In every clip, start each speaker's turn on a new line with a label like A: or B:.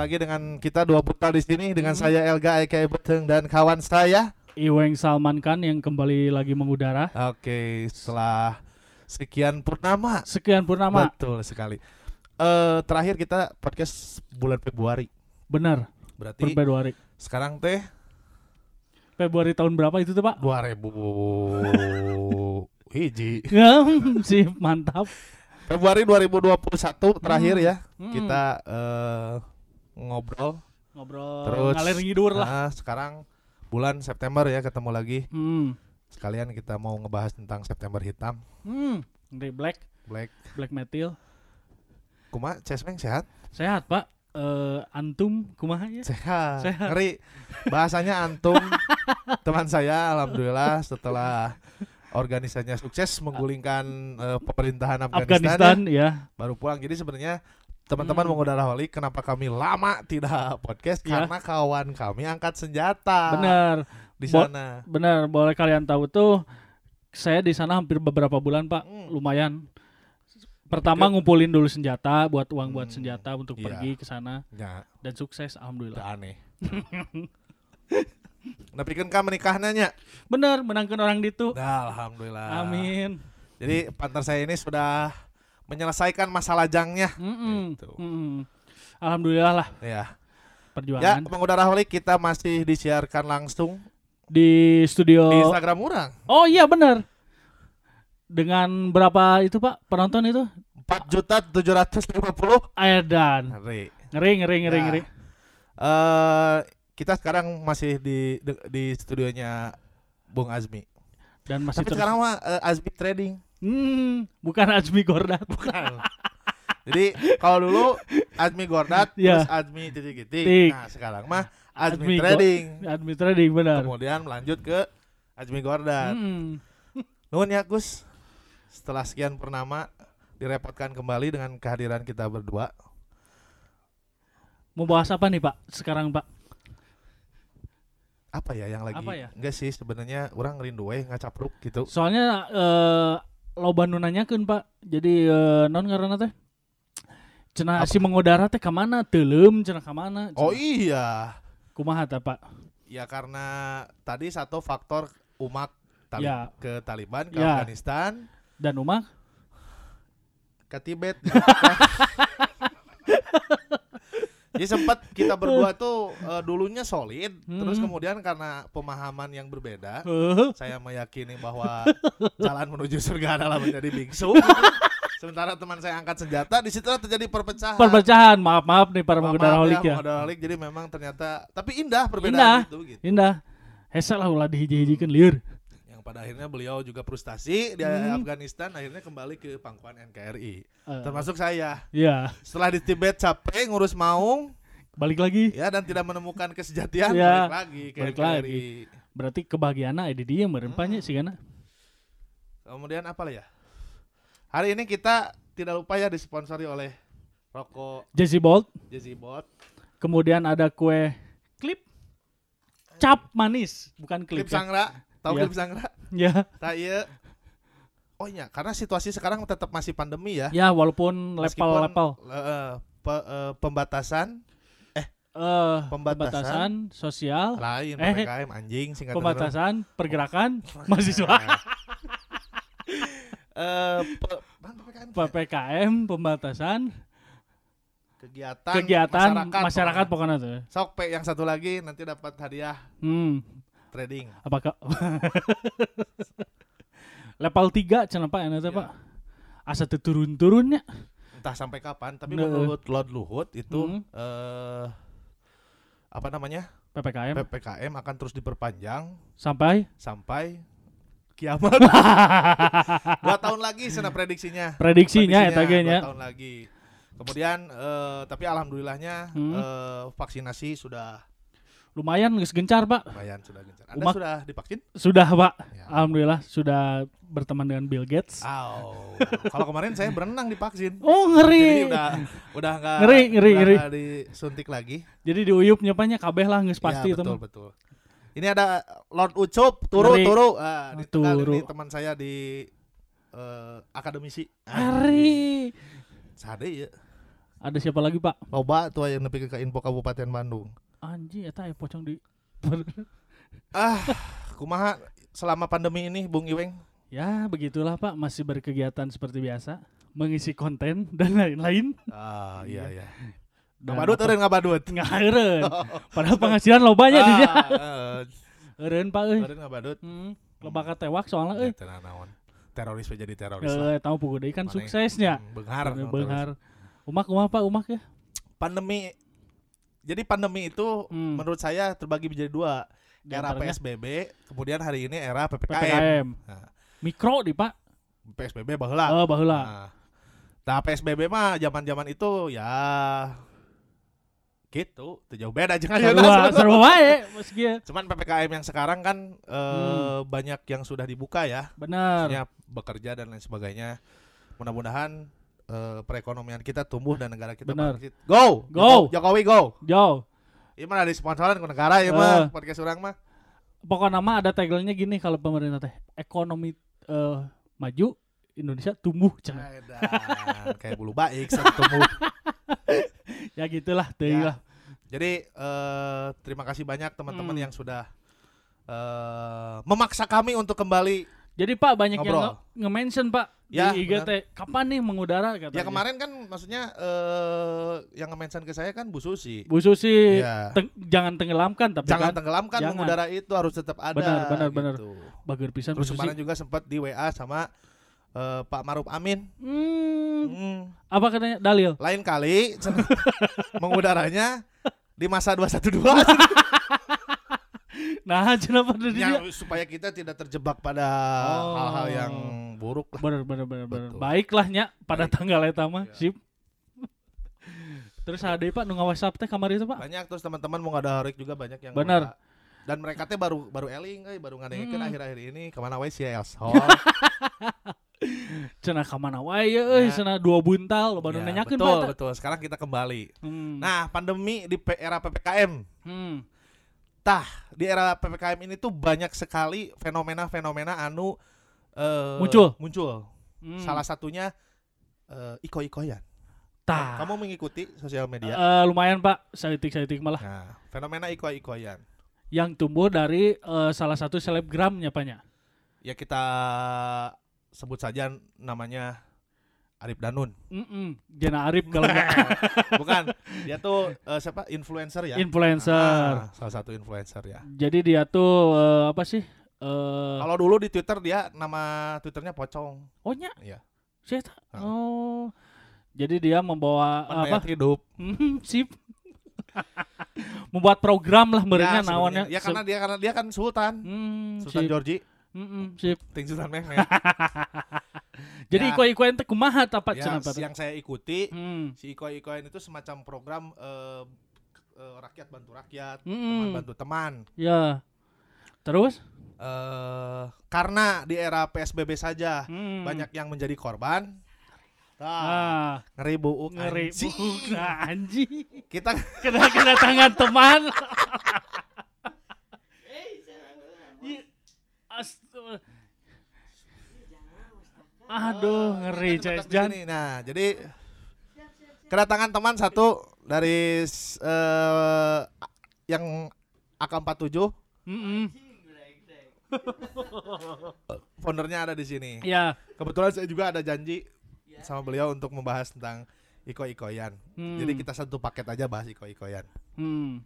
A: lagi dengan kita dua putar di sini dengan saya Elga Eka Beteng dan kawan saya.
B: Iweng Salman Khan yang kembali lagi mengudara.
A: Oke, setelah sekian purnama.
B: Sekian purnama.
A: Betul sekali. Eh terakhir kita podcast bulan Februari.
B: Benar,
A: Berarti
B: per Februari.
A: sekarang teh
B: Februari tahun berapa itu tuh, Pak?
A: 2000 hiji.
B: Hmm, Sih, mantap.
A: Februari 2021 terakhir ya
B: Hmm.
A: kita eh, ngobrol
B: ngobrol
A: Terus,
B: ngalir ngidur lah.
A: Nah, sekarang bulan September ya ketemu lagi.
B: Hmm.
A: Sekalian kita mau ngebahas tentang September hitam,
B: Hmm, dari Black,
A: Black.
B: Black Metal.
A: Kuma, Cesmeng sehat?
B: Sehat, Pak. Eh antum kumaha ya?
A: Sehat.
B: Sehat.
A: Ngeri. Bahasanya antum teman saya alhamdulillah setelah organisasinya sukses menggulingkan eh, pemerintahan Afghanistan,
B: Afghanistan ya.
A: ya, baru pulang. Jadi sebenarnya teman-teman
B: Hmm.
A: mengudara Holi kenapa kami lama tidak podcast
B: Ya.
A: karena kawan kami angkat senjata
B: Benar.
A: di
B: Bo-
A: sana.
B: Benar, boleh kalian tahu tuh saya di sana hampir beberapa bulan, Pak.
A: Hmm.
B: Lumayan. Pertama ngumpulin dulu senjata, buat uang buat
A: Hmm,
B: senjata untuk
A: iya.
B: pergi ke sana
A: Ya,
B: dan sukses alhamdulillah.
A: Udah aneh. Tapi kan kamu menikahnya nya.
B: Benar, menangkan orang ditu.
A: Nah, alhamdulillah.
B: Amin.
A: Jadi partner saya ini sudah menyelesaikan masalah jangnya.
B: Mm-mm,
A: Gitu.
B: mm-mm. Alhamdulillah lah
A: Ya. Ya,
B: perjuangan
A: mengudara Holik kita masih disiarkan langsung
B: di
A: di
B: studio.
A: Instagram orang.
B: Oh iya benar. Dengan berapa itu Pak penonton itu?
A: 4 juta 750
B: Edan.
A: hari.
B: Ngeri ngeri ngeri
A: Nah.
B: ngeri.
A: Eh, kita sekarang masih di di- di studionya Bung Azmi.
B: Dan masih
A: Tapi
B: terus.
A: sekarang mah eh, Azmi trading.
B: Hmm, bukan Azmi Gordat.
A: Bukan. Jadi kalau dulu Admi Gordat
B: Iya.
A: terus Admi titik
B: Tik.
A: titik. Nah sekarang mah Admi,
B: Admi Go-
A: Trading.
B: Azmi Trading benar.
A: Kemudian lanjut ke Admi Gordat.
B: Mm-mm.
A: Nuhun ya Gus. Setelah sekian purnama direpotkan kembali dengan kehadiran kita berdua.
B: Mau bahas apa nih Pak sekarang Pak?
A: Apa ya yang lagi?
B: Apa ya?
A: Enggak sih sebenarnya orang rindu eh ngacapruk gitu.
B: Soalnya eh loba nu nanyakeun Pak. Jadi eh, non ngaranna teh? Cenah
A: Apa?
B: si mengodara teh ka mana? Teuleum cenah ka mana?
A: Oh
B: Cenah.
A: iya.
B: Kumaha teh Pak?
A: Ya karena tadi satu faktor umat Tali-
B: Ya.
A: ke Taliban, ke
B: Ya.
A: Afghanistan,
B: Dan Umar
A: ke Tibet. Jadi sempat kita berdua tuh eh, dulunya solid, terus
B: Mm.
A: kemudian karena pemahaman yang berbeda, saya meyakini bahwa jalan menuju surga adalah menjadi biksu. Sementara teman saya angkat senjata, di situ terjadi perpecahan.
B: perpecahan. Maaf-maaf nih para
A: Maaf,
B: mengodara holik
A: maaf
B: ya.
A: Mengodaraholik. iya, Jadi memang ternyata tapi indah
B: Indah.
A: perbedaan itu gitu.
B: Indah. Hese lah ulah dihiji-hijikan liur. Eh,
A: Yang pada akhirnya beliau juga frustasi di
B: Hmm.
A: Afghanistan akhirnya kembali ke pangkuan NKRI.
B: Eh,
A: Termasuk saya.
B: ya,
A: Setelah di Tibet capek ngurus maung
B: balik lagi.
A: ya dan tidak menemukan kesejatian
B: Ya,
A: balik lagi ke
B: balik
A: NKRI.
B: lagi. Berarti kebahagiaan ada di dia
A: Hmm.
B: merempahnya sih kan.
A: Kemudian apa lah ya? Hari ini kita tidak lupa ya disponsori oleh rokok
B: Jesse Bolt,
A: Jazzy Bot.
B: kemudian ada kue klip cap manis, bukan
A: Klip
B: klip. ya.
A: Sangra, tahu
B: Iya.
A: klip Sangra?
B: Ya,
A: Tak iya. Oh iya, karena situasi sekarang tetap masih pandemi ya.
B: ya walaupun
A: Meskipun,
B: level-level
A: eh, pe- eh, pembatasan
B: eh
A: Pembatasan.
B: pembatasan sosial,
A: lain
B: Eh.
A: PPKM anjing singkat
B: pembatasan pergerakan mahasiswa,
A: Eh, pe- apaan PPKM?
B: PPKM, pembatasan
A: kegiatan,
B: kegiatan masyarakat pokoknya tuh.
A: Sok Pe, yang satu lagi nanti dapat hadiah
B: Hmm,
A: trading.
B: apakah level 3 cenah Pak enak teh,
A: Ya.
B: Pak. Asa teu turun-turunnya.
A: Entah sampai kapan, tapi
B: Nah, eh.
A: menurut Lord Luhut itu
B: Hmm.
A: eh apa namanya?
B: PPKM
A: PPKM akan terus diperpanjang
B: sampai
A: sampai kiamat. dua tahun lagi sana prediksinya.
B: prediksinya ya, eta ge
A: dua
B: nya.
A: tahun lagi. Kemudian eh tapi alhamdulillahnya
B: Hmm.
A: eh, vaksinasi sudah
B: Lumayan geus gencar, Pak.
A: lumayan sudah gencar. Anda
B: Umak-
A: sudah divaksin?
B: Sudah, Pak.
A: Ya.
B: Alhamdulillah sudah berteman dengan Bill Gates.
A: Au. Kalau kemarin saya berenang divaksin.
B: Oh,
A: Jadi
B: ngeri.
A: udah udah enggak
B: Ngeri, ngeri, ngeri.
A: disuntik lagi.
B: Jadi diuyup nyapanya kabeh lah geus pasti
A: ya,
B: itu.
A: betul
B: mah.
A: betul. Ini ada Lord Ucup, turu
B: Ngeri.
A: turu. Ah, di tengah
B: Turu.
A: ini teman saya di eh, akademisi.
B: Ngeri.
A: Sade ya.
B: Ada siapa lagi pak?
A: Loba tuh yang nepi ke info Kabupaten Bandung.
B: Anji, eta ya pocong di.
A: Ah, kumaha selama pandemi ini Bung Iweng?
B: ya begitulah pak, masih berkegiatan seperti biasa, mengisi konten dan lain-lain.
A: Ah, iya iya.
B: Dan
A: Ngabadut
B: apa-
A: eureun ngabadut.
B: Nggak eren. Padahal penghasilan lo banyak di dia.
A: Ah,
B: Eren pak, euy.
A: Eureun ngabadut.
B: Hmm, Lebaka tewak
A: Ya,
B: soalnya, eh.
A: tenang naon. Teroris we jadi teroris. lah.
B: Eh, tahu pugu deui kan
A: Mana
B: suksesnya.
A: Hmm, Benghar. no, teroris.
B: Benghar. Umak, umak pak, umak ya.
A: Pandemi jadi pandemi itu
B: Hmm.
A: menurut saya terbagi menjadi dua
B: Di
A: era
B: antaranya
A: PSBB kemudian hari ini era PPKM
B: PPKM.
A: Nah.
B: Mikro di pak.
A: PSBB baheula
B: Eh, baheula.
A: Nah, Nah, PSBB mah zaman-zaman itu ya gitu, teu jauh beda jeung ayeuna
B: Sarua,
A: sebenarnya.
B: sarua ah, wae. Mas Gia.
A: Cuman PPKM yang sekarang kan eh,
B: Hmm.
A: banyak yang sudah dibuka ya,
B: Benar.
A: maksudnya bekerja dan lain sebagainya. Mudah-mudahan eh, perekonomian kita tumbuh dan negara kita
B: Benar.
A: bangkit. Go, Joko-
B: Go!
A: Jokowi go.
B: Jauh.
A: Ieu mah ada sponsoran ku negara ieu mah
B: Eh.
A: podcast urang mah.
B: Pokoknya nama ada tagline-nya gini kalau pemerintah teh ekonomi eh, maju Indonesia tumbuh cenah.
A: Edan, Kayak bulu baik satu tumbuh.
B: Ya gitulah, teh
A: Ya.
B: lah.
A: Jadi eh, terima kasih banyak teman-teman
B: Hmm.
A: yang sudah eh, memaksa kami untuk kembali.
B: Jadi Pak banyak yang
A: Ngobrol.
B: nge- nge-mention Pak
A: Ya,
B: di IG
A: benar.
B: teh kapan nih mengudara katanya.
A: Ya kemarin kan maksudnya eh, yang nge-mention ke saya kan Bu Susi.
B: Bu Susi
A: Iya.
B: teng- jangan tenggelamkan tapi
A: Jangan
B: kan
A: tenggelamkan
B: Jangan.
A: mengudara itu harus tetap ada.
B: Benar, benar,
A: gitu.
B: benar. bager pisan Bu
A: Terus
B: Susi.
A: kemarin juga sempat di WA sama eh, Pak Maruf Amin.
B: Hmm,
A: Hmm.
B: apa katanya dalil?
A: Lain kali mengudaranya di masa 212
B: Nah, kenapa dari dia?
A: yang Ya, supaya kita tidak terjebak pada
B: Oh.
A: hal-hal yang buruk lah.
B: Bener bener bener bener.
A: Betul.
B: Baiklah nya pada tanggal eta mah,
A: Iya.
B: sip. Terus ada Pak nu ngawasap teh kamari itu Pak.
A: banyak terus teman-teman mau ada horik juga banyak yang
B: Benar.
A: nggak- dan mereka teh baru baru eling euy, baru ngadengin
B: Hmm.
A: akhir-akhir ini kemana we si Elshol
B: Cenah ka mana wae euy,
A: Ya.
B: cenah dua buntal lo baru
A: Ya,
B: nanyakeun
A: betul
B: Pak. teh.
A: betul sekarang kita kembali
B: Hmm.
A: nah pandemi di P- era ppkm
B: hmm.
A: di era ppkm ini tuh banyak sekali fenomena-fenomena anu eh,
B: Muncul.
A: muncul
B: Hmm.
A: salah satunya eh, iko-ikoyan
B: Tah.
A: kamu mengikuti sosial media
B: Eh, lumayan Pak, saitik-saitik malah
A: nah fenomena iko-ikoyan
B: yang tumbuh dari eh, salah satu selebgramnya Pak
A: ya kita sebut saja namanya Arif Danun
B: Mm Jena Arif kalau nggak
A: Bukan, dia tuh eh, siapa? Influencer ya?
B: influencer.
A: Ah, salah satu influencer ya.
B: Jadi dia tuh eh, apa sih? Eh,
A: Kalau dulu di Twitter dia nama Twitternya pocong.
B: oh nya?
A: Iya.
B: Si eta?
A: Ah. ya?
B: Oh. Jadi dia membawa Ah, apa?
A: Pandai hidup.
B: Hmm, sip. Membuat program lah merenya
A: Ya,
B: naonnya.
A: sebenarnya. Ya karena dia karena dia kan sultan.
B: Hmm,
A: Sultan
B: sip.
A: Georgie,
B: Mm-mm, sip.
A: Ting Sultan Mehmet.
B: Jadi
A: Ya.
B: iko-iko ente kumaha tah Pak
A: Ya,
B: cenah Pak?
A: yang saya ikuti
B: Hmm.
A: si Iko Ikoin itu semacam program eh, eh, rakyat bantu rakyat, teman
B: Mm-mm.
A: bantu teman.
B: Ya. Terus?
A: Eh, karena di era PSBB saja
B: Hmm.
A: banyak yang menjadi korban. Nah,
B: Ah,
A: ngeri buuk
B: ngeri
A: anjing.
B: bukan anjing.
A: Kita
B: Kena kedatangan teman. Ih, astaga.
A: Ah,
B: Aduh, Oh,
A: Ini
B: ngeri Cez
A: tempat
B: Jan.
A: begini. Nah, jadi kedatangan teman satu dari s- eh, a- yang AK47,
B: Mm-mm.
A: foundernya ada di sini.
B: Ya.
A: Kebetulan saya juga ada janji sama beliau untuk membahas tentang iko-ikoyan.
B: Hmm.
A: Jadi kita satu paket aja bahas iko-ikoyan.
B: Hmm.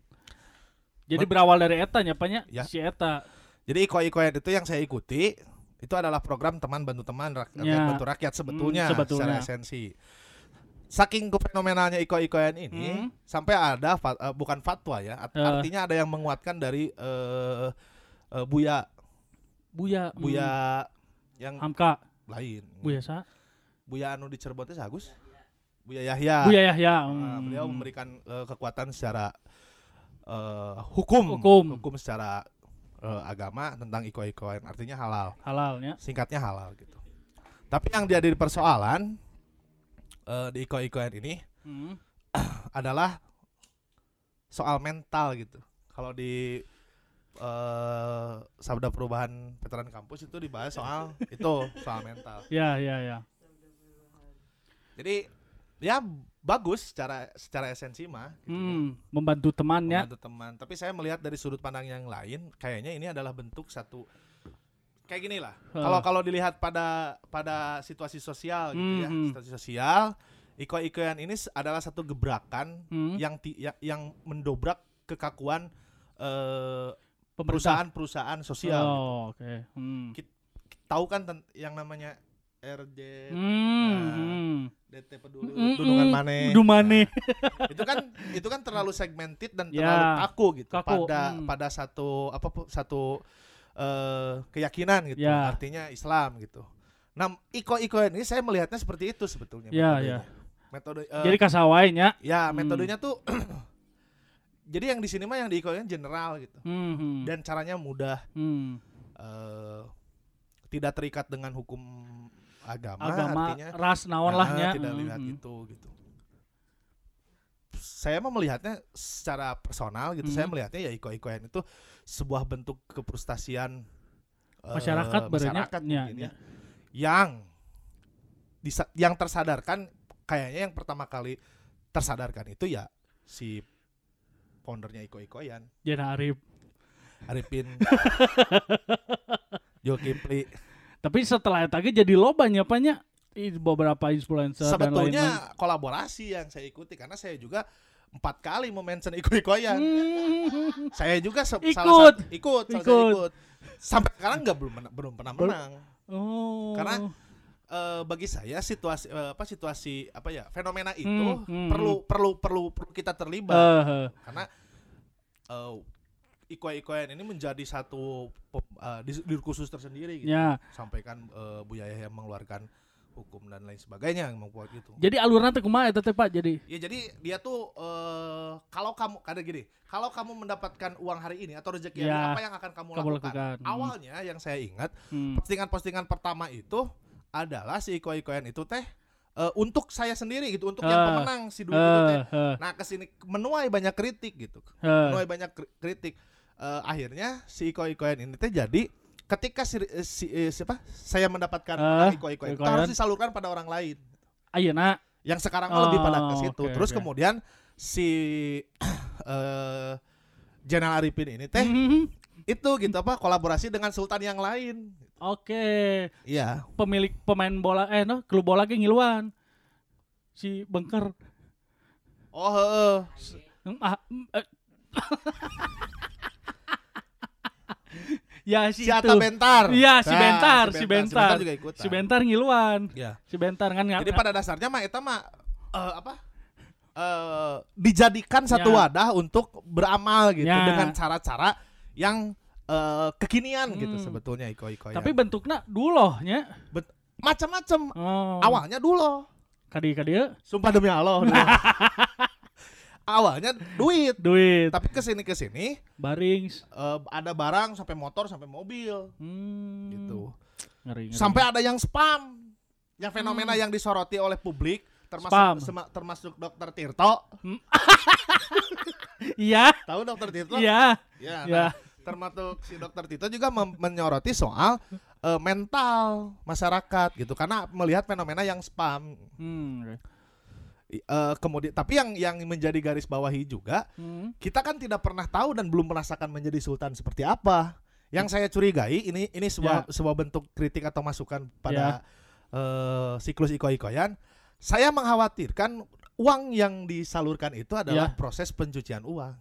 B: Jadi berawal dari Eta nyapanya
A: Ya.
B: si Eta.
A: Jadi iko-ikoyan itu yang saya ikuti itu adalah program teman bantu teman rak- rakyat
B: Ya.
A: bantu rakyat sebetulnya,
B: Hmm, sebetulnya.
A: secara esensi. Saking fenomenalnya iko-ikoyan ini
B: Hmm.
A: sampai ada fa- eh, bukan fatwa ya, art-
B: Eh.
A: artinya ada yang menguatkan dari eh, eh, Buya
B: Hmm. Buya. hmm.
A: Buya yang
B: Hamka.
A: lain.
B: Buya Sa.
A: Buya anu di Cirebon teh Agus. Buya Yahya.
B: Buya Yahya.
A: Nah,
B: Hmm.
A: beliau memberikan eh, kekuatan secara eh, hukum,
B: Hukum.
A: secara eh, agama tentang iko-ikoyan, artinya halal.
B: halalnya.
A: singkatnya halal gitu. Tapi yang jadi persoalan eh, di iko-ikoan ini
B: Hmm.
A: adalah soal mental gitu. Kalau di eh, sabda perubahan veteran kampus itu Gitu dibahas soal itu soal mental.
B: Ya, ya, ya.
A: Jadi ya bagus secara secara esensi mah gitu ya.
B: Hmm, membantu temannya.
A: membantu teman. Tapi saya melihat dari sudut pandang yang lain, kayaknya ini adalah bentuk satu kayak gini lah. Kalau kalau dilihat pada pada situasi sosial gitu ya,
B: Mhm.
A: situasi sosial, iko-ikoan ini s- adalah satu gebrakan
B: Hmm,
A: yang ti- ya- yang mendobrak kekakuan eh,
B: pemerintah.
A: perusahaan-perusahaan sosial.
B: Oh, oke. Hmm.
A: Tahu kan ten- yang namanya RJ,
B: Hmm,
A: Nah,
B: hmm.
A: DT peduli,
B: Mm-mm.
A: Dunungan Mane.
B: Udu mane.
A: itu kan itu kan terlalu segmented dan
B: Ya,
A: terlalu kaku gitu
B: kaku,
A: pada
B: hmm.
A: pada satu apa pu- satu eh, keyakinan gitu
B: Ya.
A: artinya Islam gitu. Nah iko-iko ini saya melihatnya seperti itu sebetulnya.
B: Ya,
A: metodenya.
B: ya.
A: Metode eh,
B: Jadi kasawainya.
A: ya
B: Hmm.
A: metodenya tuh jadi yang di sini mah yang di iko-nya general gitu
B: Hmm, hmm,
A: dan caranya mudah
B: hmm.
A: eh, tidak terikat dengan hukum agama,
B: Agama,
A: artinya
B: ras
A: Nah,
B: naon lahnya.
A: tidak
B: Hmm,
A: lihat
B: hmm.
A: itu gitu saya mah melihatnya secara personal gitu
B: Hmm.
A: saya melihatnya ya iko-ikoan itu sebuah bentuk keprustasian eh,
B: Masyarakat barunya,
A: masyarakat
B: ya,
A: mungkin
B: ya.
A: ya. yang disa- yang tersadarkan kayaknya yang pertama kali tersadarkan itu ya si foundernya iko-ikoan
B: Jena Arif.
A: Arifin Jokipli
B: Tapi setelah itu jadi loba nya apa nya? Ih, beberapa influencer dan lain-lain.
A: sebetulnya kolaborasi yang saya ikuti karena saya juga empat kali mention
B: ya.
A: iko-ikoan
B: Hmm.
A: saya juga se-
B: Ikut.
A: salah satu ikut, salah satu
B: Ikut.
A: ikut. Sampai sekarang nggak belum mena- belum pernah
B: Belum.
A: menang.
B: Oh.
A: Karena Eh, bagi saya situasi eh, apa situasi apa ya fenomena itu
B: Hmm, hmm,
A: perlu perlu perlu perlu kita terlibat
B: eh
A: karena eh iko-ikoan ini menjadi satu pem- eh, dis- diskursus tersendiri gitu.
B: ya.
A: Sampaikan eh, Bu Yahya yang mengeluarkan hukum dan lain sebagainya yang membuat itu.
B: Jadi alurnya teh kumaha eta teh Pak? Jadi
A: Ya jadi dia tuh eh, kalau kamu kada gini, kalau kamu mendapatkan uang hari ini atau rezeki hari
B: Ya,
A: ini, apa yang akan kamu,
B: kamu
A: lakukan?
B: lakukan. Hmm.
A: Awalnya yang saya ingat
B: hmm.
A: postingan-postingan pertama itu adalah si Iko Ikoen itu teh eh, untuk saya sendiri gitu, untuk yang
B: Eh,
A: pemenang si dulu itu
B: Eh,
A: teh.
B: eh,
A: Nah kesini menuai banyak kritik gitu,
B: eh.
A: menuai banyak kri- kritik. Eh, akhirnya si Iko Ikoen ini teh jadi ketika si, eh, si- eh, siapa saya mendapatkan
B: Eh,
A: uang Iko Ikoen itu
B: Ikoen.
A: harus disalurkan pada orang lain
B: Ayeuna
A: yang sekarang mah lebih pada ke
B: Oh,
A: situ.
B: oke,
A: Terus
B: oke.
A: kemudian si eh Jenal Arifin ini teh
B: Mhm.
A: itu gitu apa kolaborasi dengan sultan yang lain.
B: Oke,
A: Iya.
B: pemilik pemain bola eh no, klub bola ge ngiluan. Si Bengker.
A: Oh, heeh.
B: Hmm, ah, hmm, eh. ya si,
A: Si
B: itu.
A: Ata Bentar. Nah,
B: Iya, si Bentar, si Bentar.
A: juga ikutan.
B: si Bentar ngiluan.
A: Iya.
B: Si Bentar kan nggak-
A: Jadi pada dasarnya mah eta mah eh, apa? eh dijadikan satu
B: Ya.
A: wadah untuk beramal gitu
B: Ya.
A: dengan cara-cara yang eh, kekinian gitu
B: Hmm.
A: sebetulnya iko-iko
B: tapi bentuknya dulohnya.
A: macam-macam
B: Oh.
A: awalnya dulu
B: Kadi eh. kadi
A: Sumpah demi Allah. dulu. Awalnya duit,
B: duit
A: tapi kesini kesini
B: barings.
A: eh, ada barang sampai motor sampai mobil
B: Hmm.
A: gitu.
B: Ngeri, ngeri.
A: Sampai ada yang spam, yang fenomena yang disoroti oleh publik
B: Hmm. Spam.
A: termasuk sema- termasuk dokter Tirto.
B: Iya,
A: Tahu dokter Tirto?
B: iya,
A: Ya, nah,
B: iya.
A: termasuk si dokter Tirto juga mem- menyoroti soal eh, mental masyarakat gitu karena melihat fenomena yang spam.
B: Hmm. oke.
A: I- eh, kemudian tapi yang yang menjadi garis bawahi juga
B: Hmm.
A: kita kan tidak pernah tahu dan belum merasakan menjadi sultan seperti apa. Yang saya curigai ini ini
B: Ya.
A: sebuah sebuah bentuk kritik atau masukan pada eh, siklus iko-ikoyan. Saya mengkhawatirkan uang yang disalurkan itu adalah
B: Ya.
A: proses pencucian uang.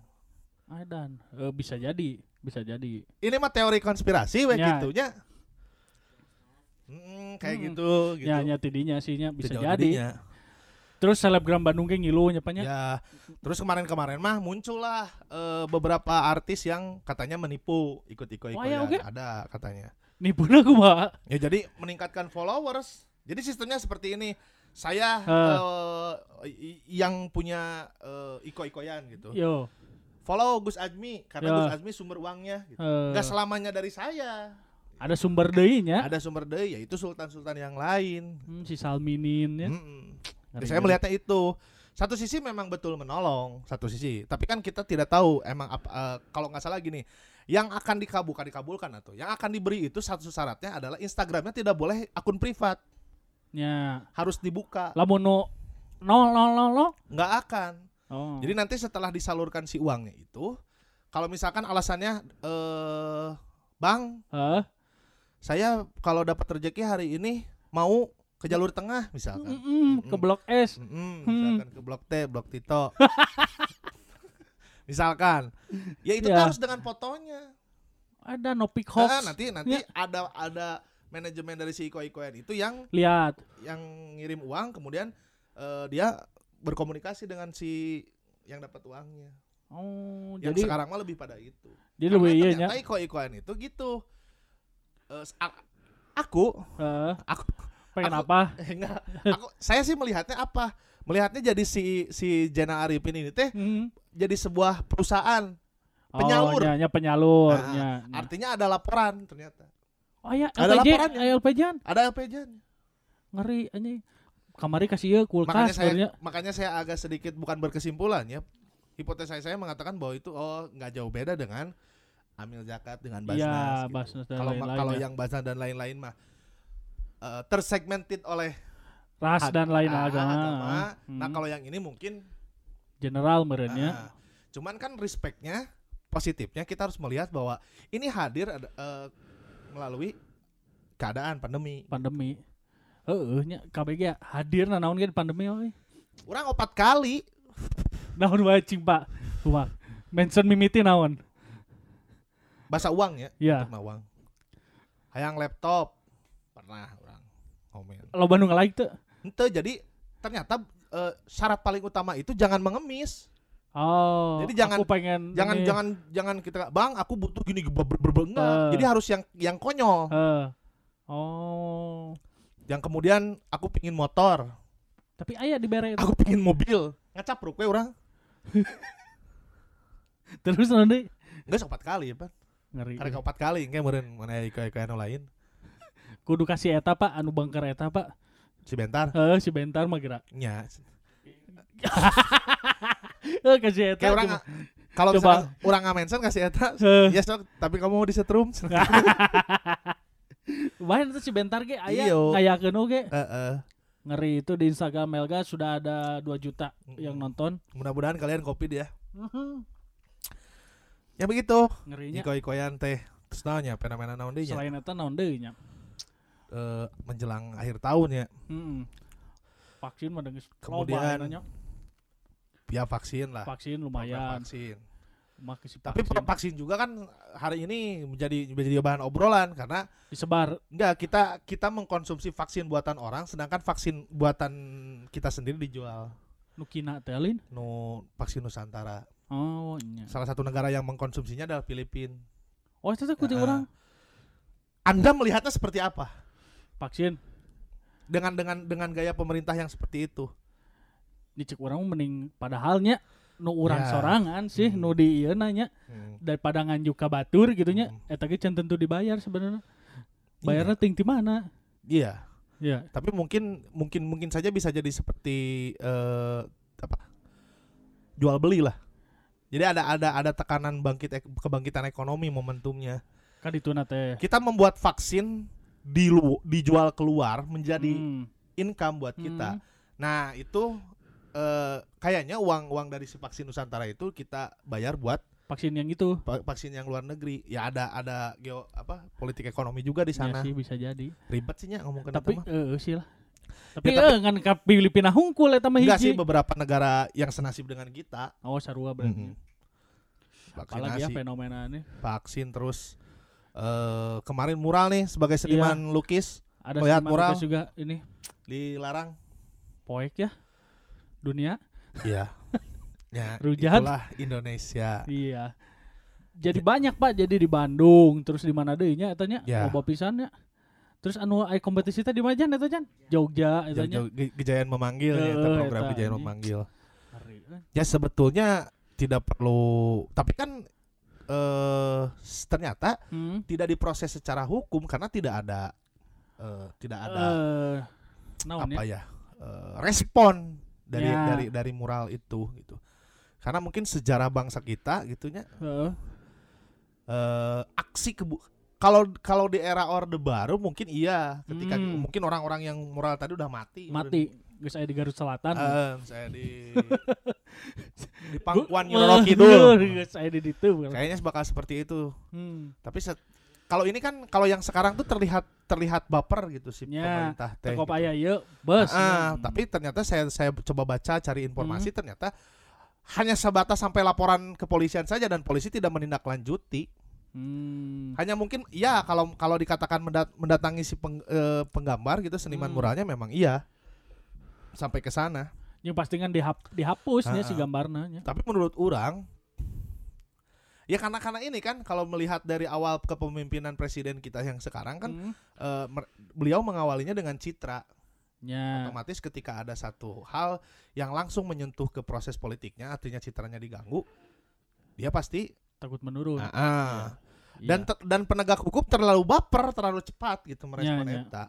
B: Aidan, eh, bisa jadi, bisa jadi.
A: Ini mah teori konspirasi we
B: Ya.
A: gitunya. Mm, kayak
B: Mm-mm.
A: gitu gitu.
B: Ya, nya tidinya sihnya bisa
A: Sejauh
B: jadi.
A: jadinya.
B: Terus selebgram Bandung ge ngilu nyapanya.
A: Ya, terus kemarin-kemarin mah muncullah eh, beberapa artis yang katanya menipu ikut-ikut
B: Wah, ya, oke.
A: ada katanya.
B: Nipuna kumaha?
A: Ya jadi meningkatkan followers. Jadi sistemnya seperti ini. Saya
B: Heeh.
A: eh, i- yang punya eh, iko-ikoyan gitu.
B: Yo.
A: Follow Gus Azmi karena
B: Ya.
A: Gus Azmi sumber uangnya gitu.
B: eh,
A: Nggak selamanya dari saya.
B: ada sumber deui nya.
A: Ada sumber deui yaitu sultan-sultan yang lain.
B: Hmm, si Salminin ya.
A: Mm-mm.
B: Ngeri,
A: Ya, saya
B: ngeri.
A: melihatnya itu. Satu sisi memang betul menolong, satu sisi. Tapi kan kita tidak tahu emang apa- eh, kalau nggak salah gini, yang akan dikabulkan dikabulkan atau yang akan diberi itu satu syaratnya adalah Instagramnya tidak boleh akun privat,
B: nya.
A: harus dibuka.
B: Lamun nu nol nol nol nol.
A: nggak akan.
B: Oh.
A: Jadi nanti setelah disalurkan si uangnya itu, kalau misalkan alasannya eh Bang,
B: Heeh.
A: saya kalau dapat rezeki hari ini mau ke jalur tengah misalkan.
B: Mm-mm, ke blok S.
A: Mm-mm,
B: Hmm.
A: misalkan ke blok T, blok Tito. misalkan. Ya itu tuh
B: Ya.
A: harus dengan fotonya.
B: Ada no pick
A: Nah,
B: hoax. Ya.
A: nanti nanti ada ada manajemen dari si Iko Ikoan itu yang
B: Lihat.
A: yang ngirim uang kemudian eh, dia berkomunikasi dengan si yang dapat uangnya.
B: Oh,
A: Yang
B: jadi
A: sekarang mah lebih pada itu.
B: jadi
A: Karena
B: lebih iya nya.
A: ternyata iko-ikoan itu gitu. Eh, s- a- aku,
B: Heeh.
A: aku,
B: pengen
A: Aku-
B: apa?
A: enggak, aku, saya sih melihatnya apa? Melihatnya jadi si si Jena Arifin ini teh
B: Hmm.
A: jadi sebuah perusahaan.
B: Oh,
A: Penyalur.
B: nya- nya penyalur.
A: Nah,
B: nya, nya.
A: Artinya ada laporan ternyata.
B: Oh ya,
A: ada
B: LPJ,
A: laporannya.
B: eh, LPJ -an.
A: Ada LPJ.
B: ngeri anjing. Kamari kasih ieu
A: Makanya
B: kulkas
A: saya
B: sebenarnya.
A: makanya saya agak sedikit bukan berkesimpulan ya. Hipotesa saya mengatakan bahwa itu oh nggak jauh beda dengan Amil Zakat dengan Basnas.
B: Iya,
A: gitu.
B: Basnas dan
A: Kalau ma-
B: lain-lain
A: kalau
B: ya.
A: yang Basnas dan lain-lain mah eh, tersegmented oleh
B: ras dan lain
A: Ah,
B: agama. Hmm.
A: Nah kalau yang ini mungkin
B: general ya. merenya.
A: ah, cuman kan respectnya positifnya kita harus melihat bahwa ini hadir ada, eh, melalui keadaan pandemi.
B: pandemi. Heeh, nya KBG hadir nah naon ge pandemi we.
A: Orang opat kali
B: Naon wae cing Pak. Wah, mention mimiti naon?
A: bahasa uang ya,
B: Ya,
A: pernah uang. Hayang laptop pernah orang komen.
B: lo Bandung like tuh.
A: Ente jadi ternyata eh, syarat paling utama itu jangan mengemis.
B: Oh,
A: Jadi jangan-
B: aku pengen
A: Jangan
B: ini.
A: jangan jangan kita bang aku butuh gini ber- ber- ber- enggak."
B: Eh.
A: Jadi harus yang yang konyol.
B: Eh. oh,
A: Yang kemudian aku pingin motor.
B: tapi ayah dibere itu.
A: aku pingin mobil ngacapruk we orang
B: Terus nanti
A: enggak sempat kali ya pan
B: ngeri.
A: karena empat kali kayak meren mana iko iko anu lain
B: Kudu kasih eta Pak, anu bangker eta Pak.
A: si bentar
B: Heeh, si bentar mah gerak.
A: nya
B: Eh, kasih eta.
A: kayak orang
B: cuma-
A: kalau
B: Coba.
A: misalkan orang ngamensen kasih eta
B: Heeh.
A: ya sok tapi kamu mau disetrum
B: Main tuh si bentar ge aya
A: Iyo.
B: ngayakeun oge.
A: Heeh.
B: Ngeri itu di Instagram Melga sudah ada 2 juta yang nonton.
A: mudah-mudahan kalian kopi dia
B: Mhm.
A: ya begitu
B: Ngerinya
A: iko ikoyan teh terus naonnya fenomena naon deui nya
B: Iya. selain eta naon deui nya?
A: Eh, menjelang akhir tahun ya
B: Mm-mm. Vaksin mah deungis loba
A: Kemudian,
B: enanya.
A: ya vaksin lah
B: vaksin
A: Program
B: lumayan.
A: vaksin
B: Mah ke si
A: tapi
B: vaksin.
A: vaksin. vaksin juga kan hari ini menjadi menjadi bahan obrolan karena
B: disebar
A: Enggak, kita kita mengkonsumsi vaksin buatan orang sedangkan vaksin buatan kita sendiri dijual.
B: nukina telin.
A: No vaksin Nusantara.
B: Oh, nya.
A: Salah satu negara yang mengkonsumsinya adalah Filipina.
B: Oh, itu teh kucing
A: Heeh.
B: orang
A: Anda melihatnya seperti apa?
B: vaksin.
A: Dengan dengan dengan gaya pemerintah yang seperti itu.
B: Dicek orang mending padahalnya nu urang
A: Ya.
B: sorangan sih
A: Hmm.
B: nu di ieu nanya daripada nganjuk ka batur gitu nya
A: Hmm.
B: eta ge can tentu dibayar sebenarnya. Bayarnya ting di mana?
A: Iya,
B: Ya,
A: tapi mungkin mungkin mungkin saja bisa jadi seperti eh, apa? Jual beli lah. Jadi ada ada ada tekanan bangkit ek- kebangkitan ekonomi momentumnya.
B: kan dituna teh.
A: Kita membuat vaksin di lu- dijual keluar menjadi
B: Hmm.
A: income buat kita.
B: Hmm.
A: Nah, itu eh, kayaknya uang-uang dari si vaksin Nusantara itu kita bayar buat
B: vaksin yang itu.
A: va- vaksin yang luar negeri. Ya ada ada geo apa politik ekonomi juga di
B: Ya
A: sana.
B: sih bisa jadi.
A: Ribet sih nya ngomong ke
B: tapi
A: mah. Ya,
B: eh sih lah. Tapi,
A: tapi-
B: eh ngan ka Filipina hungkul eta mah
A: Enggak sih
B: hiji.
A: beberapa negara yang senasib dengan kita.
B: Oh, sarua
A: Mm-mm.
B: berarti. Apalagi ya
A: Vaksinasi,
B: fenomenanya
A: vaksin terus eh kemarin mural nih sebagai
B: Iya.
A: seniman lukis
B: Ada
A: Lihat
B: seniman
A: mural.
B: lukis juga ini
A: dilarang.
B: poek ya dunia.
A: Iya. ya,
B: Rujahat.
A: itulah Indonesia.
B: Iya. Jadi banyak Pak, jadi di Bandung, terus di mana deui nya eta nya?
A: Ya.
B: Loba pisannya. Terus anu ai kompetisi teh di Majan eta Jan? Jogja eta nya.
A: Jauh-jauh ge- Gejayan memanggil ya,
B: Heeh,
A: program
B: eta,
A: Gejayan
B: Iya, anjing.
A: memanggil.
B: Hari, eh.
A: ya sebetulnya tidak perlu tapi kan eh s- ternyata
B: Hmm.
A: tidak diproses secara hukum karena tidak ada eh, tidak ada
B: Eh, naon
A: apa
B: ya?
A: ya eh, respon dari
B: Ya.
A: dari dari mural itu gitu karena mungkin sejarah bangsa kita gitunya
B: Heeh.
A: eh aksi kebu kalau kalau di era orde baru mungkin iya ketika
B: Hmm.
A: mungkin orang-orang yang mural tadi udah mati
B: Eh, mati. geus aya di Garut Selatan.
A: Eh, saya di di Pangkuan Nyoro Kidul.
B: Geus aya di ditu. bukan?
A: Kayaknya bakal seperti itu.
B: Hmm.
A: Tapi set- kalau ini kan kalau yang sekarang tuh terlihat terlihat baper gitu si
B: Ya,
A: pemerintah teh.
B: Tekop
A: gitu.
B: aya ieu bus.
A: Ah, tapi ternyata saya saya coba baca cari informasi
B: Hmm.
A: ternyata hanya sebatas sampai laporan kepolisian saja dan polisi tidak menindaklanjuti.
B: Hmm.
A: Hanya mungkin iya kalau kalau dikatakan mendat- mendatangi si peng- eh, penggambar gitu seniman
B: Hmm.
A: muralnya memang iya sampai ke sana.
B: Yang pasti kan dihap
A: Ah,
B: dihapusnya si
A: ah.
B: gambarnya. nya.
A: Tapi menurut orang Ya karena karena ini kan kalau melihat dari awal kepemimpinan presiden kita yang sekarang kan
B: Hmm.
A: eh, mer- beliau mengawalinya dengan citra.
B: Nya.
A: Otomatis ketika ada satu hal yang langsung menyentuh ke proses politiknya, artinya citranya diganggu, dia pasti
B: takut menurun.
A: ah, ah. dan te- dan penegak hukum terlalu baper, terlalu cepat gitu merespon
B: iya. Ya, ya.
A: eta.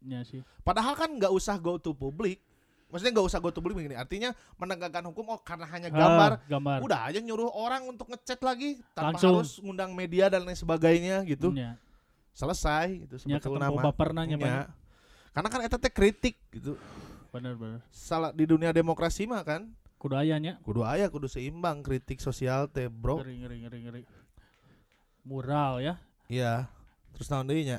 B: Iya sih.
A: Padahal kan nggak usah go to publik. Maksudnya nggak usah go to publik begini. Artinya menegakkan hukum oh karena hanya gambar
B: Ah, gambar.
A: udah aja nyuruh orang untuk ngechat lagi tanpa
B: Langsung.
A: harus ngundang media dan lain sebagainya gitu Iya.
B: Nya.
A: selesai gitu
B: Nya
A: sebetulnya
B: Iya, Ya, ketemu
A: mah.
B: baperna nya
A: Nya.
B: banyak.
A: ya. karena kan eta teh kritik gitu
B: Bener bener.
A: salah di dunia demokrasi mah kan
B: Kudu aya nya.
A: kudu aya kudu seimbang kritik sosial teh bro
B: Ngeri ngeri ngeri ngeri. Mural ya.
A: iya terus naon deui nya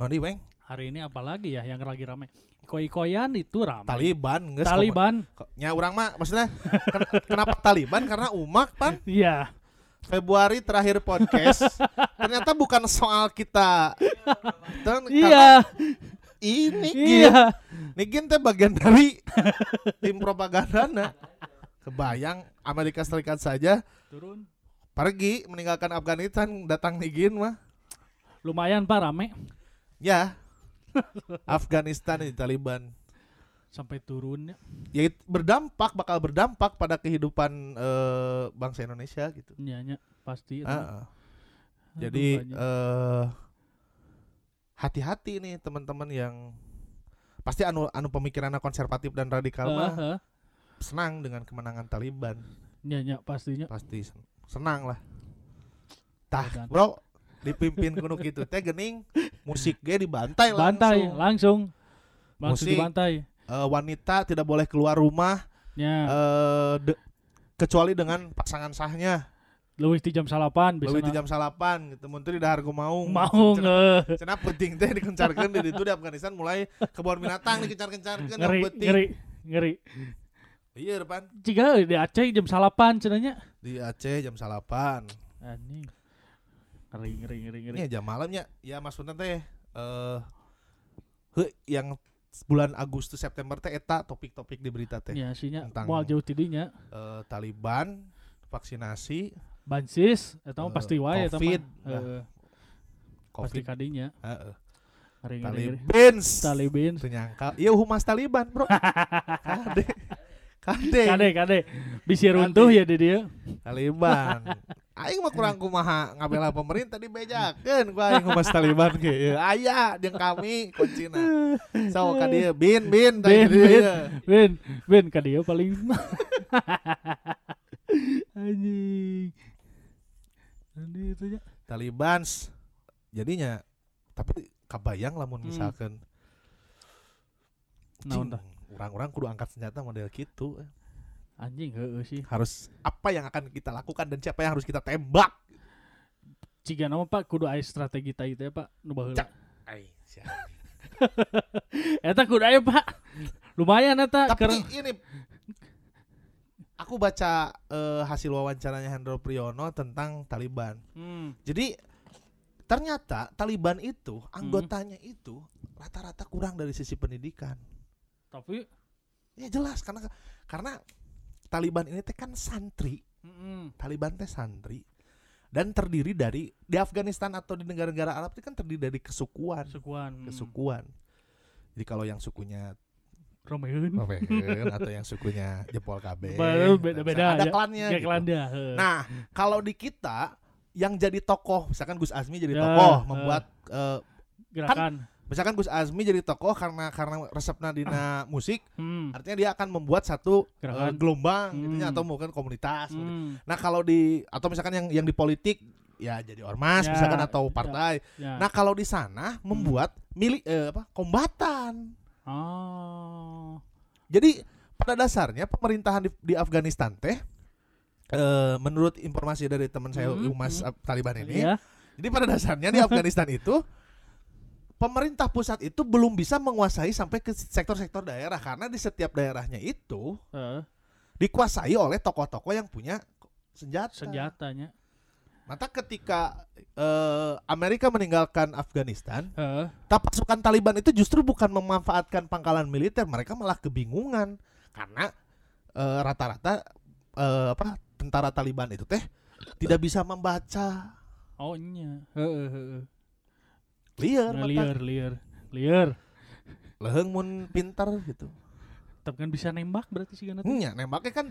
A: naon deui, Weng?
B: Hari ini apalagi ya yang lagi rame? Koi-koyan itu rame.
A: Taliban geus
B: Taliban.
A: kom- ko- nya urang mah maksudnya ken- kenapa Taliban karena umak pan
B: Iya.
A: Februari terakhir podcast ternyata bukan soal kita Dan karena
B: Iya.
A: ini Gin.
B: Iya.
A: Nigin teh bagian dari tim propaganda kebayang Amerika Serikat saja
B: Turun.
A: pergi meninggalkan Afghanistan datang Nigin mah
B: Lumayan Pak rame
A: ya Afghanistan di Taliban
B: sampai turunnya.
A: ya it- berdampak bakal berdampak pada kehidupan eh, bangsa Indonesia gitu
B: Iya nya pasti. itu.
A: Ah, ah.
B: Aduh,
A: jadi
B: banyak.
A: eh, hati-hati nih teman-teman yang pasti anu anu pemikirannya konservatif dan radikal mah
B: Heeh.
A: senang dengan kemenangan Taliban
B: eh. Iya nya pastinya.
A: pasti sen- senang lah tah
B: Dan-
A: bro dipimpin kuno gitu teh gening musik ge dibantai
B: Bantai
A: langsung.
B: langsung. Langsung
A: Musik.
B: dibantai. Iya.
A: Eh, wanita tidak boleh keluar rumah
B: Nya,
A: eh, de- kecuali dengan pasangan sahnya
B: leuwih ti jam salapan bisa.
A: lebih di jam salapan gitu menteri dahar maung
B: mau
A: Cenah- cenah penting teh dikencarkan di itu di Afghanistan mulai kebun binatang dikencar-kencarkan yang
B: ngeri
A: penting
B: ngeri ngeri.
A: iya depan
B: Jika di Aceh jam salapan cenanya.
A: di Aceh jam salapan
B: Anjing. Ngeri ngeri ngeri ngeri.
A: Ini jam malamnya. Ya maksudnya teh eh heuh, yang bulan Agustus September teh eta topik-topik di berita teh.
B: Ya
A: iya.
B: sinya
A: Tentang-
B: moal jauh tidinya
A: Eh, Taliban, vaksinasi,
B: bansis atau
A: Eh,
B: pasti wae eta mah.
A: Covid.
B: Heeh, pasti
A: Covid.
B: kadinya.
A: Heeh.
B: Ngeri ngeri. ngeri.
A: Taliban.
B: Taliban.
A: Teu nyangka. Ieu iya, humas Taliban, Bro. Kade. Kade.
B: Kade kade bisi runtuh ya di dia.
A: Taliban. Aing mah kurang kumaha ngabela pemerintah dibejakeun ku aing humas Taliban ge. Ieu Aya jeung kami kucina. So ka dieu bin bin tah
B: Bin,
A: gitu
B: bin.
A: ya.
B: Win, win ka dia paling. Anjing. Nanti itu nya.
A: Taliban jadinya tapi kabayang lamun
B: Hmm.
A: misalkan
B: Naon tah?
A: orang-orang kudu angkat senjata model gitu
B: Anjing heeh sih.
A: harus apa yang akan kita lakukan dan siapa yang harus kita tembak
B: Ciga nama Pak kudu aya strategi tadi teh Pak nu baheula.
A: Cak. Ai, sia.
B: Eta kudu aya Pak. Lumayan eta
A: tapi
B: keur
A: ini aku baca eh, hasil wawancaranya Hendro Priyono tentang Taliban
B: Hmm.
A: jadi ternyata Taliban itu anggotanya itu rata-rata kurang dari sisi pendidikan
B: Tapi
A: ya jelas karena karena Taliban ini teh kan santri
B: mm-mm.
A: Taliban teh santri dan terdiri dari di Afghanistan atau di negara-negara Arab itu kan terdiri dari kesukuan,
B: sukuan. mm.
A: kesukuan. Jadi kalau yang sukunya
B: Hmm, Romeun.
A: Romawen atau yang sukunya jempol KB,
B: Baru beda-beda
A: ada
B: ya.
A: klannya.
B: Ya
A: gitu.
B: Kelanda. heeh.
A: Nah, kalau di kita yang jadi tokoh, misalkan Gus Azmi jadi
B: Ya,
A: tokoh
B: eh.
A: membuat eh,
B: Gerakan.
A: misalkan Gus Azmi jadi tokoh karena karena resepna dina musik,
B: Hmm.
A: artinya dia akan membuat satu eh,
B: Gerakan.
A: gelombang gitu ya,
B: Hmm.
A: atau mungkin komunitas. gitu.
B: Hmm.
A: Nah kalau di atau misalkan yang yang di politik ya jadi ormas
B: Ya,
A: misalkan atau
B: ya.
A: partai.
B: Ya.
A: Nah, kalau di sana membuat milik eh, apa? kombatan.
B: Oh.
A: Jadi pada dasarnya pemerintahan di, di Afghanistan teh eh, menurut informasi dari teman saya
B: Mhm,
A: Umas
B: mhm.
A: Ab- Taliban ini.
B: Iya.
A: Jadi pada dasarnya di Afghanistan itu pemerintah pusat itu belum bisa menguasai sampai ke sektor-sektor daerah karena di setiap daerahnya itu
B: Eh,
A: dikuasai oleh tokoh-tokoh yang punya senjata.
B: senjatanya.
A: Maka ketika eh, Amerika meninggalkan Afghanistan,
B: Eh,
A: ta- pasukan Taliban itu justru bukan memanfaatkan pangkalan militer, mereka malah kebingungan karena eh, rata-rata eh, apa tentara Taliban itu teh tidak bisa membaca
B: oh iya. Heeh, heeh.
A: liar,
B: Nah,
A: mata
B: liar, liar, liar.
A: leheng mun pintar gitu.
B: Tapi kan bisa nembak berarti sih kan?
A: Nya nembaknya kan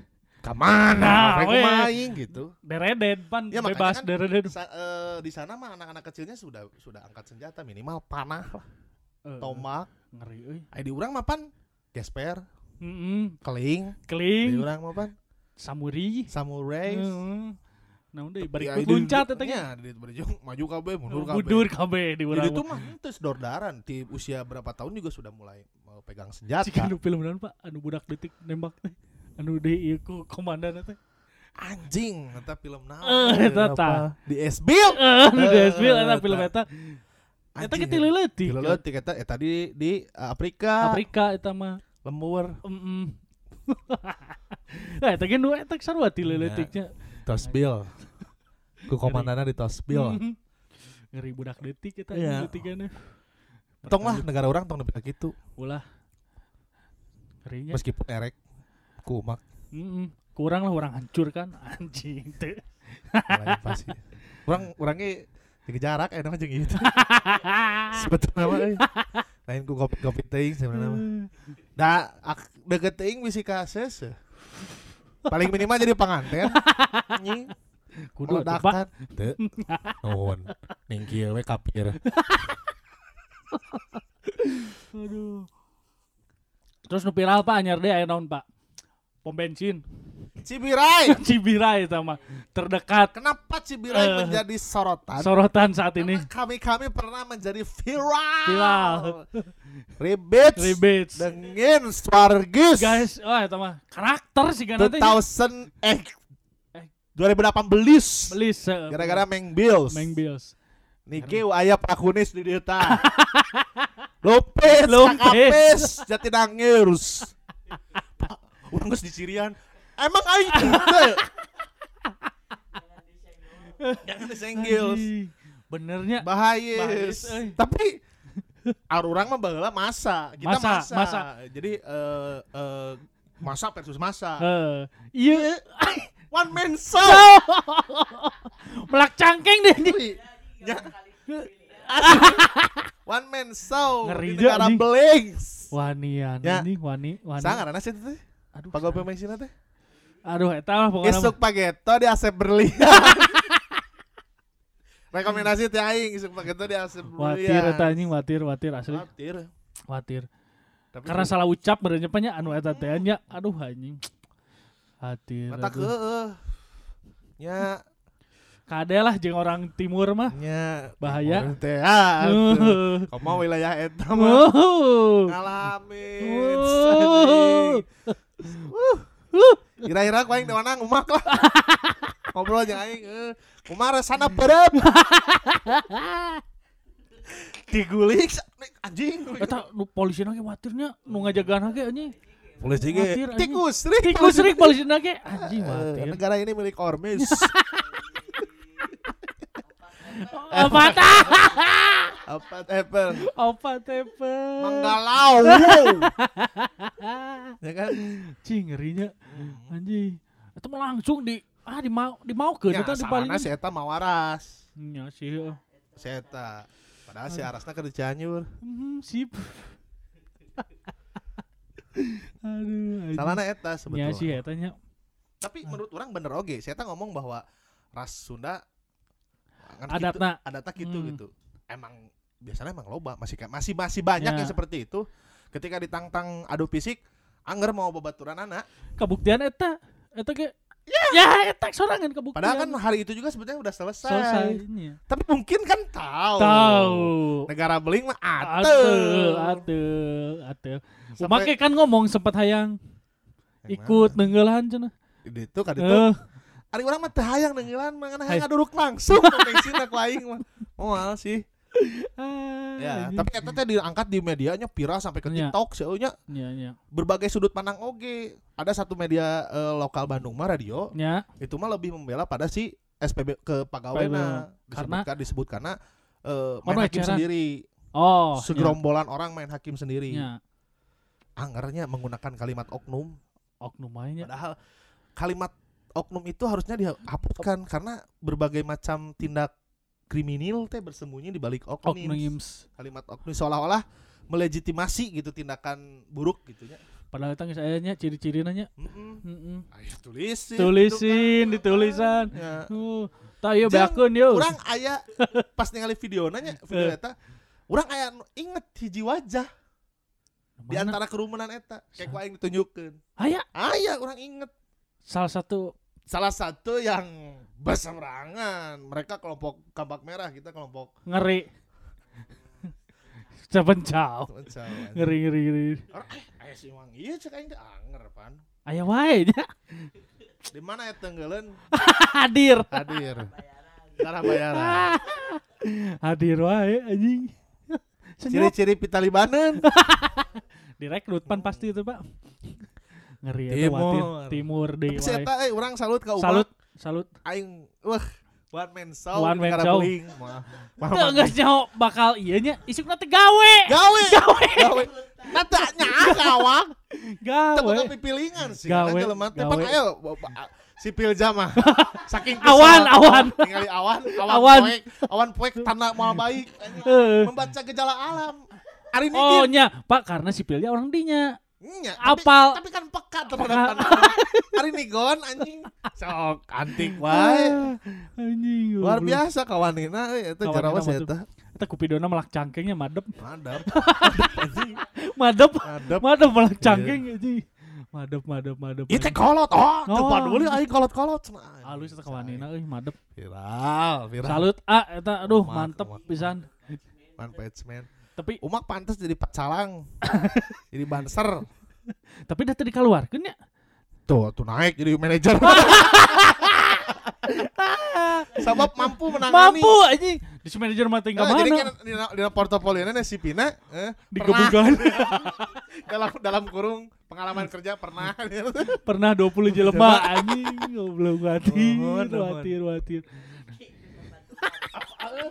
A: kamana,
B: Nah,
A: mereka
B: weh.
A: main gitu.
B: Dereden pan
A: Ya, makanya
B: bebas
A: kan-
B: dereden.
A: Sa- eh, di sana mah anak-anak kecilnya sudah sudah angkat senjata minimal panah, lah,
B: Eh,
A: tombak.
B: ngeri euy.
A: Ay, di urang mapan gesper,
B: Heeh.
A: keling. Di
B: Keling Hmm.
A: urang mapan
B: samuri. Nah,
A: samurai.
B: Heeh. Naon deui bari
A: Ya,
B: ikut
A: di-
B: luncat eta ge.
A: Nya, di bari jeung maju kabeh, mundur kabeh.
B: kan? Mundur kabeh
A: Jadi
B: di urang.
A: itu mah henteu dordaran di usia berapa tahun juga sudah mulai mau pegang
B: Jika
A: senjata.
B: nu film naon Pak? Anu budak detik nembak teh. Anu di ieu ku komandan teh.
A: Anjing, eta film naon?
B: Eh,
A: Apa?
B: eta tah.
A: Di SBL.
B: Eh, anu di SBL eta
A: Eh,
B: film
A: eta.
B: eta. Eta ge tileleutik.
A: Tileleutik eta eta di eh, di Afrika,
B: Afrika eta mah.
A: lembur.
B: Mm Nah, eta ge nu eta sarua tileleutiknya.
A: Tosbil. Ku komandanna di Tosbil.
B: Mhm. Ngeri budak detik eta
A: Iya.
B: deutikannya.
A: Tong lah negara orang tong nepi ka kitu.
B: Ulah. Ngerinya.
A: Meskipun erek kumak
B: Mm-mm. Kurang lah orang hancur kan anjing teu.
A: mulai pasti. Orang orangnya jaga jarak enak aja gitu. sebetulnya mah euy. lain ku kopi kopi teing sebenarnya mah da ak- deket teing bisi ka sese eh. paling minimal jadi penganten nyi
B: Kudu atuh, Pak.
A: meledakan teu nuhun ningkil we kapir
B: Aduh. Terus nu viral Pak anyar deh aya naon Pak? Pom bensin
A: Cibirai
B: Cibirai sama terdekat
A: kenapa Cibirai
B: Eh,
A: menjadi sorotan
B: sorotan saat ini.
A: Karena kami-kami pernah menjadi viral
B: Viral.
A: ribet
B: Ribet.
A: dengan Swargis
B: Guys, wah eta mah karakter sih kan teh.
A: 2000 eh
B: Eh.
A: 2018
B: Belis. eh,
A: gara-gara Meng Bills
B: Meng Bills.
A: Niki aya prakunis di dieu tah. Lopes,
B: Lopez.
A: kakapes, jati dangeus. Urang geus dicirian. Emang aing teh. Jangan disenggils.
B: Anjing. Benernya
A: Bahaya.
B: Bahayis, euy.
A: Tapi arurang mah baheula masa. Kita
B: Masa,
A: masa.
B: masa.
A: Jadi eh eh, masa versus masa.
B: eh iya
A: One man show.
B: melak cangkeng deh anjing.
A: Ya. One man show
B: Ngeri
A: di
B: juga,
A: negara
B: anjing.
A: Belings.
B: Wanian
A: Ya.
B: ini wani wani.
A: Sangat karena sih teh.
B: Aduh.
A: Pagol
B: sangar.
A: pemain teh.
B: Aduh, eta mah pokoknya.
A: Isuk pageto di Asep Berlian. Rekomendasi teh aing isuk pageto di Asep
B: Watir
A: Berlian.
B: eta anjing watir watir asli
A: Watir.
B: watir.
A: Tapi
B: Karena salah ucap berenya nya anu eta teh nya aduh anjing. Watir.
A: mata ke
B: aduh.
A: nya
B: Kade lah jeung orang timur mah.
A: nya
B: Bahaya.
A: timur teh ah, atuh.
B: Uh.
A: Komo wilayah eta mah
B: Uh.
A: ngalamin
B: Uh.
A: anjing. Uh. Kira-kira ku aing di mana ngumak lah. Ngobrol jeung aing eh kumaha sana perep. Digulik anjing.
B: Eta nu polisina ge watirnya nu ngajagaan ge anjing.
A: Polisi ge
B: Khawatir, anjing.
A: tikus, rik.
B: Tikus rik polisina ge anjing
A: Eh,
B: watir.
A: negara ini milik Ormis.
B: Apa tah?
A: Apa tepel?
B: Apa tepe?
A: Menggalau. ya kan?
B: Cing ngerinya anjing. Itu mah langsung di ah di mau di mau ke
A: Ya,
B: eta di
A: salahna si
B: paling.
A: Eta mawaras.
B: Nya sih. eh.
A: Si Eta. Padahal si Arasna ke di Cianjur.
B: Hmm, sip. Aduh.
A: Salahna Eta
B: sebetulnya. Ya sih
A: sebetulnya.
B: eta nya. Ah.
A: Tapi menurut orang bener oge. Si Eta ngomong bahwa ras Sunda ngan kitu-
B: Adatna.
A: adatna gitu
B: Hmm.
A: gitu. Emang biasanya emang loba masih ka- masih masih banyak
B: Ya.
A: yang seperti itu. Ketika
B: Iya.
A: ditantang adu fisik, Angger mau babaturan anak,
B: Kabuktian eta eta ge Ya, tak sorangan kebuktian.
A: Padahal kan hari itu juga sebetulnya udah selesai.
B: selesai. nya.
A: Tapi mungkin kan tahu.
B: Tahu.
A: Negara beling mah ate.
B: Ateu, ateu, ateu.
A: Sampai- Eh,
B: Make kan ngomong sempat hayang
A: Yang
B: ikut nenggelan cenah.
A: mana? Itu kan itu.
B: Eh,
A: Ari orang mah teu hayang nenggelan mah kan hayang
B: Hai.
A: ngaduruk langsung pensiun aku aing mah. Moal sih. Ya,
B: anjing.
A: tapi eta teh diangkat di medianya viral sampai ke
B: Nya.
A: TikTok seueunya
B: nya nya.
A: berbagai sudut pandang oge. Ada satu media eh, lokal Bandung mah radio
B: Nya,
A: itu mah lebih membela pada si SPB ke Pagawena
B: Karena-
A: disebutkan disebut karena eh,
B: Orang
A: main hakim
B: eceran.
A: sendiri,
B: oh, Iya.
A: segerombolan orang main hakim sendiri.
B: nya.
A: Anggarnya menggunakan kalimat oknum,
B: Oknum aja nya.
A: padahal kalimat oknum itu harusnya dihapuskan karena berbagai macam tindak kriminal teh bersembunyi di balik oknum.
B: Oknums.
A: Kalimat oknum seolah-olah melegitimasi gitu tindakan buruk gitu ya.
B: Padahal itu geus aya nya ciri-ciri nanya.
A: Mm-mm. Ayo tulisin.
B: Tulisin
A: gitu kan.
B: di tulisan.
A: Ya.
B: Uh, tak yuk
A: Jeng,
B: beakun yuk.
A: Orang aya pas ningali video nanya
B: Eh.
A: video eta, orang aya nu inget hiji wajah di
B: Mana?
A: antara kerumunan eta, kayak ku aing ditunjukkeun.
B: Aya
A: Aya orang inget
B: salah satu
A: salah satu yang berseberangan. Mereka kelompok kampak merah, kita kelompok
B: ngeri. Cepencau.
A: teman cawan.
B: Ngeri ngeri ngeri.
A: Orang eh, aya si Mang ieu cek aing teh anger pan.
B: Aya wae nya.
A: Di mana ya tenggelen
B: Hadir.
A: hadir. Cara bayaran.
B: Hadir wae anjing. Senyap.
A: Ciri-ciri pitalibanen.
B: Direkrut pan pasti itu, Pak. Ngeri eta
A: Timur.
B: watir. Timur deui
A: Tapi si
B: wae.
A: eta eh urang salut ka Uma.
B: Iya, Salut, salut.
A: aing wah one man show
B: One
A: di
B: man
A: negara
B: show.
A: Beling. Mah, mah,
B: Teu
A: mah.
B: geus nyaho bakal ieu nya isukna teh gawe.
A: gawe
B: Gawe.
A: gawe natanya gawang
B: Gawe.
A: tapi pilingan sih
B: Gawe,
A: karena jelema teh
B: gawe.
A: pan ayo ba- eh, ba- a- si pilja mah saking kesel.
B: Awan, awan.
A: Ningali awan awan
B: Awan.
A: poek awan poek tanda moal baik
B: Heeh.
A: membaca gejala alam hari ini
B: Oh nya, Pak karena sipilnya orang dinya.
A: Nya,
B: Apal.
A: tapi, tapi kan peka terhadap tanaman. Hari ini gon anjing sok antik wae.
B: Ah, Anjing.
A: Luar
B: goblok.
A: biasa Eh, kawanina euy eta
B: Kawanina
A: jarawas
B: mah tuh.
A: eta.
B: Eta kupidona melak cangkengnya madep.
A: Madep. Madep, anjing.
B: Madep.
A: Madep.
B: Madep melak cangkeng anjing. Madep madep madep.
A: Ieu teh kolot. Oh, teu
B: Oh.
A: peduli aing kolot-kolot. Cenah.
B: Alus eta kawanina euy madep.
A: Viral, viral.
B: Salut ah eta aduh
A: Umak,
B: mantep
A: umak.
B: pisan.
A: One Punch Man.
B: Tapi
A: Umak pantas jadi pacalang. jadi banser.
B: tapi dah tadi ya? dikeluarkeun nya.
A: Tuh, tuh naik jadi manajer. Sebab mampu menangani.
B: Mampu anjing. Di manajer mah tinggal
A: Eh, jadi kan
B: mana?
A: di, di portofolio si Pina eh, pernah
B: Digebukan.
A: dalam dalam kurung pengalaman kerja pernah
B: Pernah Oh, 20 jelema anjing
A: Nuhun,
B: goblok watir
A: nuhun.
B: watir watir.
A: Ayo,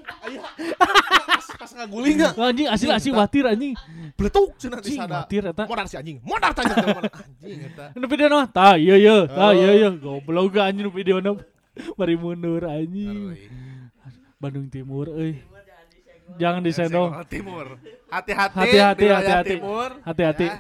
A: pas, pas
B: Iya,
A: ngaguling ya
B: Anjing asli asli watir anjing.
A: beletuk cenah di
B: Anjing
A: sana
B: watir eta.
A: modar si anjing modar tanya ke mana anjing eta
B: Nu video nama tah iya iya tah iya iya goblok gak anjing nu video nama. Mari mundur anjing. Bandung Timur euy. Jangan disendong.
A: Senggol Timur. Hati-hati
B: Hati-hati,
A: di wilayah
B: hati-hati.
A: Timur.
B: Hati-hati.
A: Ya.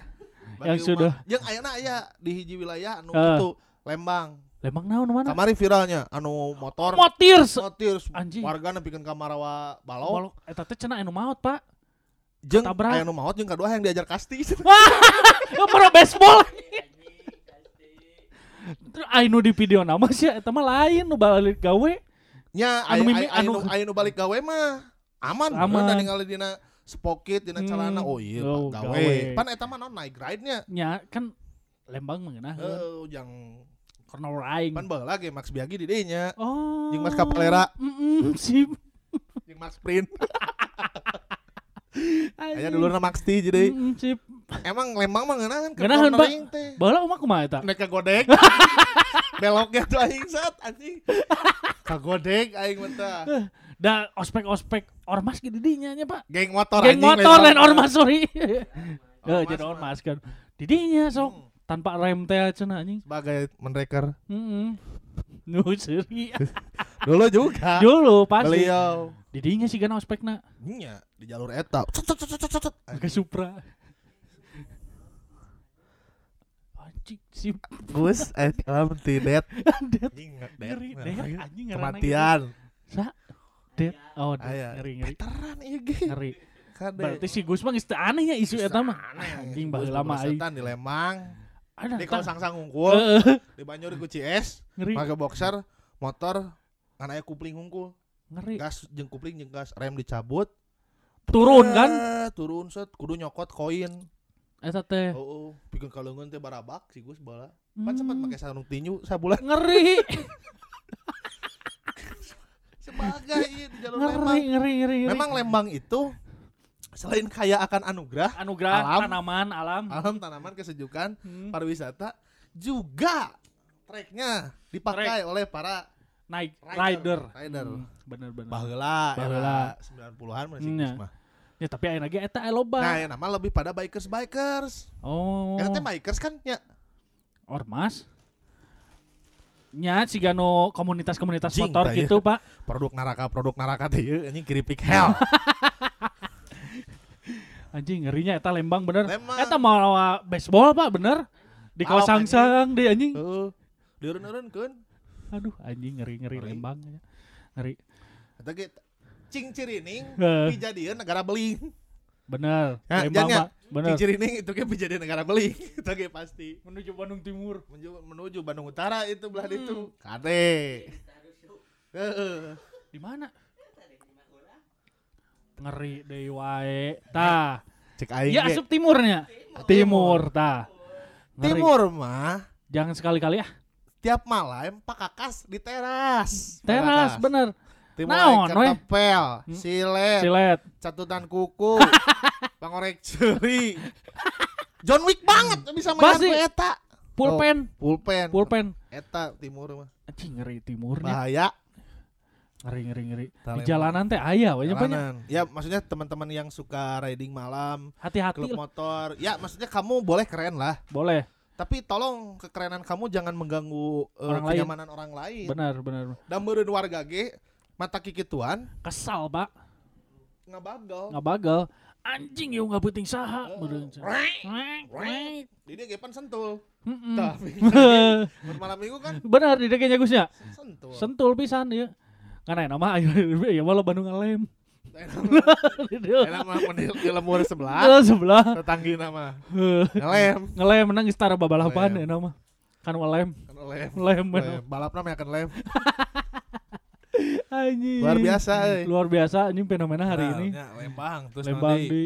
A: Bagi
B: Yang
A: umat-
B: sudah.
A: Yang ayana aya di hiji wilayah anu
B: Eh.
A: itu Lembang.
B: Lemang naon mana?
A: Kamari viralnya anu motor
B: Motir. se-
A: motir
B: Anjing.
A: warga nepikeun ka Marawa Balok.
B: Balok eta teh cenah anu maot, Pak.
A: Jeung
B: Tabrak.
A: aya nu maot jeung kadua yang diajar kasti.
B: Para Eh, baseball. Terus anu di video nama sih eta mah lain nu balik gawe.
A: Nya
B: Anu
A: aya
B: mimi-
A: aya- aya nu
B: anu-
A: aya nu balik gawe mah aman.
B: Aman.
A: Aman. ningali dina sepokit dina
B: Hmm.
A: celana. Oh iya Pak,
B: Oh,
A: gawe.
B: gawe.
A: Pan eta mah naon night ride-nya.
B: Nya kan Lembang mengenah
A: Eh yang
B: karena aing.
A: pan baheula ge Max Biagi di dinya.
B: Oh.
A: jeung Mas Kapalera. Hmm.
B: Mm sip.
A: Jeung Max Print. Aya
B: Anjing.
A: dulu na Max T jadi.
B: Mm, sip.
A: Emang Lembang mah ngeunahan kan
B: Ngeunahan, Pak.
A: cornering teh.
B: Bala umak kumaha eta?
A: Nek kagodek. Beloknya tuh aing sat anjing. Kagodek aing mah teh.
B: Da ospek-ospek ormas gitu dinya nya, Pak.
A: Geng motor
B: Geng
A: anjing,
B: motor
A: lain
B: lain ormas sorry.
A: Ormas,
B: Eh jadi
A: Pak.
B: ormas kan. Didinya sok
A: Hmm,
B: tanpa rem teh cenah anjing.
A: Sebagai menreker.
B: Heeh. Nu seuri.
A: Dulu juga. Hmm.
B: Dulu pasti.
A: Beliau.
B: Didinya sih kan ospekna
A: Nya di jalur eta. Cet, cet, cet, cet, cet, cet.
B: ke Supra. Anjing sip.
A: Gus eh, I am the dead.
B: Dead.
A: Anjing
B: Ngeri,
A: dead.
B: dead, anjing ngerana
A: Kematian.
B: gitu. Sa. Dead. Oh, dead.
A: Aya.
B: ngeri ngeri.
A: Veteran ieu ge.
B: Ngeri.
A: Kade.
B: Berarti si Gus mah geus teu aneh ya isu eta mah.
A: Aneh, Nah,
B: Anjing
A: Gus
B: baheula mah aing.
A: bersetan di Lembang.
B: Ada.
A: di
B: tah.
A: kawasan sangungkul
B: Eh, eh,
A: di Banyur ku CS
B: ngeri,
A: pakai boxer motor anaknya kupling hungkul
B: ngeri.
A: gas jeung kupling jeung gas rem dicabut
B: Turun kan?
A: Eh, turun set kudu nyokot koin
B: Eta teh.
A: oh, oh. pikeun kalungan teh barabak si Gus bala
B: Hmm,
A: pan sempat pakai sarung tinju sabulan
B: Ngeri,
A: sebagai di jalur
B: ngeri,
A: Lembang
B: ngeri, ngeri. ngeri.
A: memang Lembang itu selain kaya akan anugerah
B: anugerah
A: alam.
B: tanaman alam.
A: alam tanaman kesejukan
B: Hmm,
A: pariwisata juga treknya dipakai oleh para
B: Naik
A: Rider.
B: rider.
A: Rider.
B: Hmm, bener bener.
A: baheula ya kan?
B: Baheula.
A: era 90-an mah sih
B: Hmm, ya.
A: Gus mah.
B: Ya tapi ayeuna ge eta aya loba.
A: Nah, yang nama lebih pada bikers bikers.
B: oh.
A: Eta teh bikers kan ya
B: ormas. Nya siga nu komunitas-komunitas
A: Jing, tah,
B: motor
A: ya.
B: gitu, Pak.
A: produk neraka produk neraka teh ieu anjing keripik hell.
B: Anjing ngerinya eta Lembang bener.
A: Lembang.
B: Eta mau baseball, Pak, bener. Di
A: Malam,
B: kawasan
A: anjing.
B: sang deh anjing.
A: Heeh. Dieureun-eureunkeun.
B: Aduh, anjing ngeri-ngeri
A: Ngeri.
B: Lembang. ya. Ngeri.
A: Eta ge cingcirining
B: Heeh.
A: pijadieun negara beling.
B: Bener.
A: Ya,
B: Lembang,
A: jangan.
B: Pak. Bener.
A: Cingcirining itu ge pijadian negara beling. Eta ge pasti.
B: Menuju Bandung Timur.
A: Menuju, menuju Bandung Utara itu
B: Hmm.
A: belah itu. Kade. Heeh.
B: Di mana? Ngeri deui wae. Tah.
A: Cek aing
B: Ya
A: ge.
B: asup timurnya. Timur tah. Ngeri.
A: Timur mah
B: Jangan sekali-kali ah.
A: tiap malam pak kakas di teras
B: Teras bener.
A: tim
B: Naon,
A: naon
B: weh? Hmm?
A: ketepel silet
B: Silet.
A: catutan kuku pangorek ceri John Wick banget bisa main
B: Basi.
A: ku eta
B: Pulpen.
A: pulpen
B: Pulpen.
A: eta timur mah
B: Anjing ngeri timurnya.
A: bahaya
B: Ngeri ngeri ngeri. Di
A: Taleman.
B: jalanan teh aya we nya banyak.
A: jalanan ya maksudnya teman-teman yang suka riding malam
B: Hati-hati
A: klub
B: lah.
A: motor ya maksudnya kamu boleh keren lah
B: boleh.
A: tapi tolong kekerenan kamu jangan mengganggu eh,
B: Orang lain.
A: kenyamanan orang lain
B: Benar benar.
A: dan meureun warga ge mata kikituan
B: Kesal, Pak.
A: ngabagal
B: Ngabagal. Anjing yuk nggak penting saha. Meureun.
A: Eh. Dia gepan sentul.
B: Mm-mm.
A: Tapi malam minggu kan
B: Benar di dekenya Gusnya.
A: sentul.
B: Sentul pisan ieu. Karena enak mah ayo ya malah Bandung ngalem. Di dieu.
A: Enak mah menil di lemur sebelah.
B: Eh, sebelah
A: Tetanggi nama. Ngelem.
B: ngelem menang istara babalapan
A: Lem.
B: enak mah. Kan ngelem, ya.
A: Kan Ngelem.
B: lem
A: Ngelem. Balap nama akan lem.
B: anjing.
A: Luar biasa. eh.
B: Luar biasa anjing fenomena hari
A: Nah,
B: ini.
A: nya Lembang terus
B: Lembang
A: nanti
B: di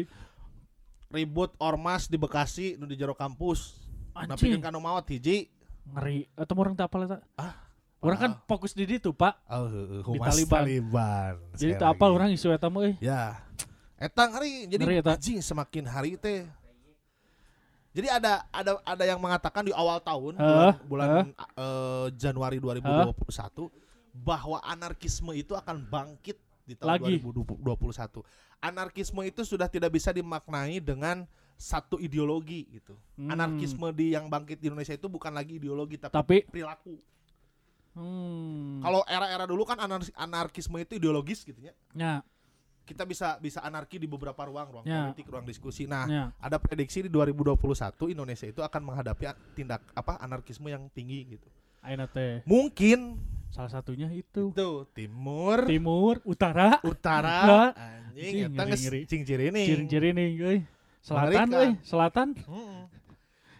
A: ribut ormas di Bekasi nu di jero kampus. Tapi
B: anjing.
A: kan kanu maot hiji.
B: ngeri atau orang tak apal eta
A: Ah,
B: orang kan fokus di ditu pak
A: Oh,
B: humas jadi tak apal orang isu eh. eta mah euy.
A: Ya. Eta ngeri jadi
B: Ngeri, eta.
A: anjing semakin hari teh. Jadi ada ada ada yang mengatakan di awal tahun
B: Heeh,
A: bulan, bulan, eh, Januari 2021 bahwa anarkisme itu akan bangkit di tahun
B: Lagi.
A: 2021. Anarkisme itu sudah tidak bisa dimaknai dengan satu ideologi gitu.
B: Hmm,
A: Anarkisme di yang bangkit di Indonesia itu bukan lagi ideologi tapi,
B: tapi
A: perilaku.
B: hmm,
A: Kalau era-era dulu kan anar- anarkisme itu ideologis gitu ya.
B: nya
A: kita bisa bisa anarki di beberapa ruang, ruang
B: Ya.
A: politik, ruang diskusi. Nah,
B: nya
A: ada prediksi di 2021 Indonesia itu akan menghadapi a- tindak apa anarkisme yang tinggi gitu.
B: ayeuna teh
A: Mungkin
B: salah satunya itu
A: itu timur,
B: timur utara
A: utara,
B: Ya.
A: anjing,
B: Ngeri,
A: eta geus
B: ngeri.
A: cingcirining.
B: ciri-ciri nih euy selatan
A: Mengerikan.
B: euy selatan
A: Mm-mm.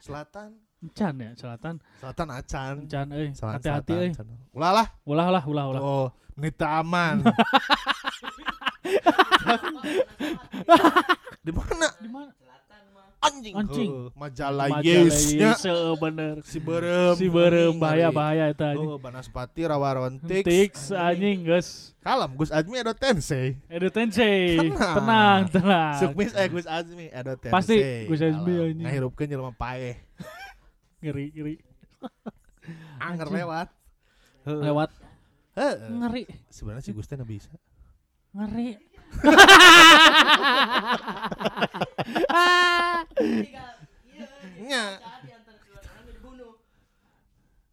A: Selatan,
B: encan ya selatan
A: selatan acan.
B: encan euy
A: Selatan,
B: hati-hati
A: selatan,
B: euy
A: acan. Ulah lah.
B: ulah ulah ulah ulah
A: Oh, nita aman. di mana?
B: di mana
A: Anjing.
B: Anjing.
A: Heuh, majalah,
B: Majalaya,
A: Yes-nya.
B: seueuh bener
A: Si berem.
B: si berem
A: Anjing,
B: bahaya
A: ngeri.
B: bahaya eta anjing
A: Oh,
B: Hmm,
A: Banaspati Rawaron Tix.
B: tiks anjing geus
A: Kalam Gus Azmi Edo Tensei.
B: Edo Tensei,
A: Tenang.
B: tenang, tenang.
A: Sukmis eh Gus Azmi Edo Tensei.
B: Ah, Pasti Gus Azmi,
A: Kalam.
B: anjing.
A: Ngahirupkeun jelema paeh.
B: Ngeri, ngeri.
A: Anger
B: Anjing.
A: lewat.
B: Lewat.
A: Heeh.
B: Ngeri,
A: Sebenarnya si Gus teh na bisa.
B: ngeri.
A: Nya.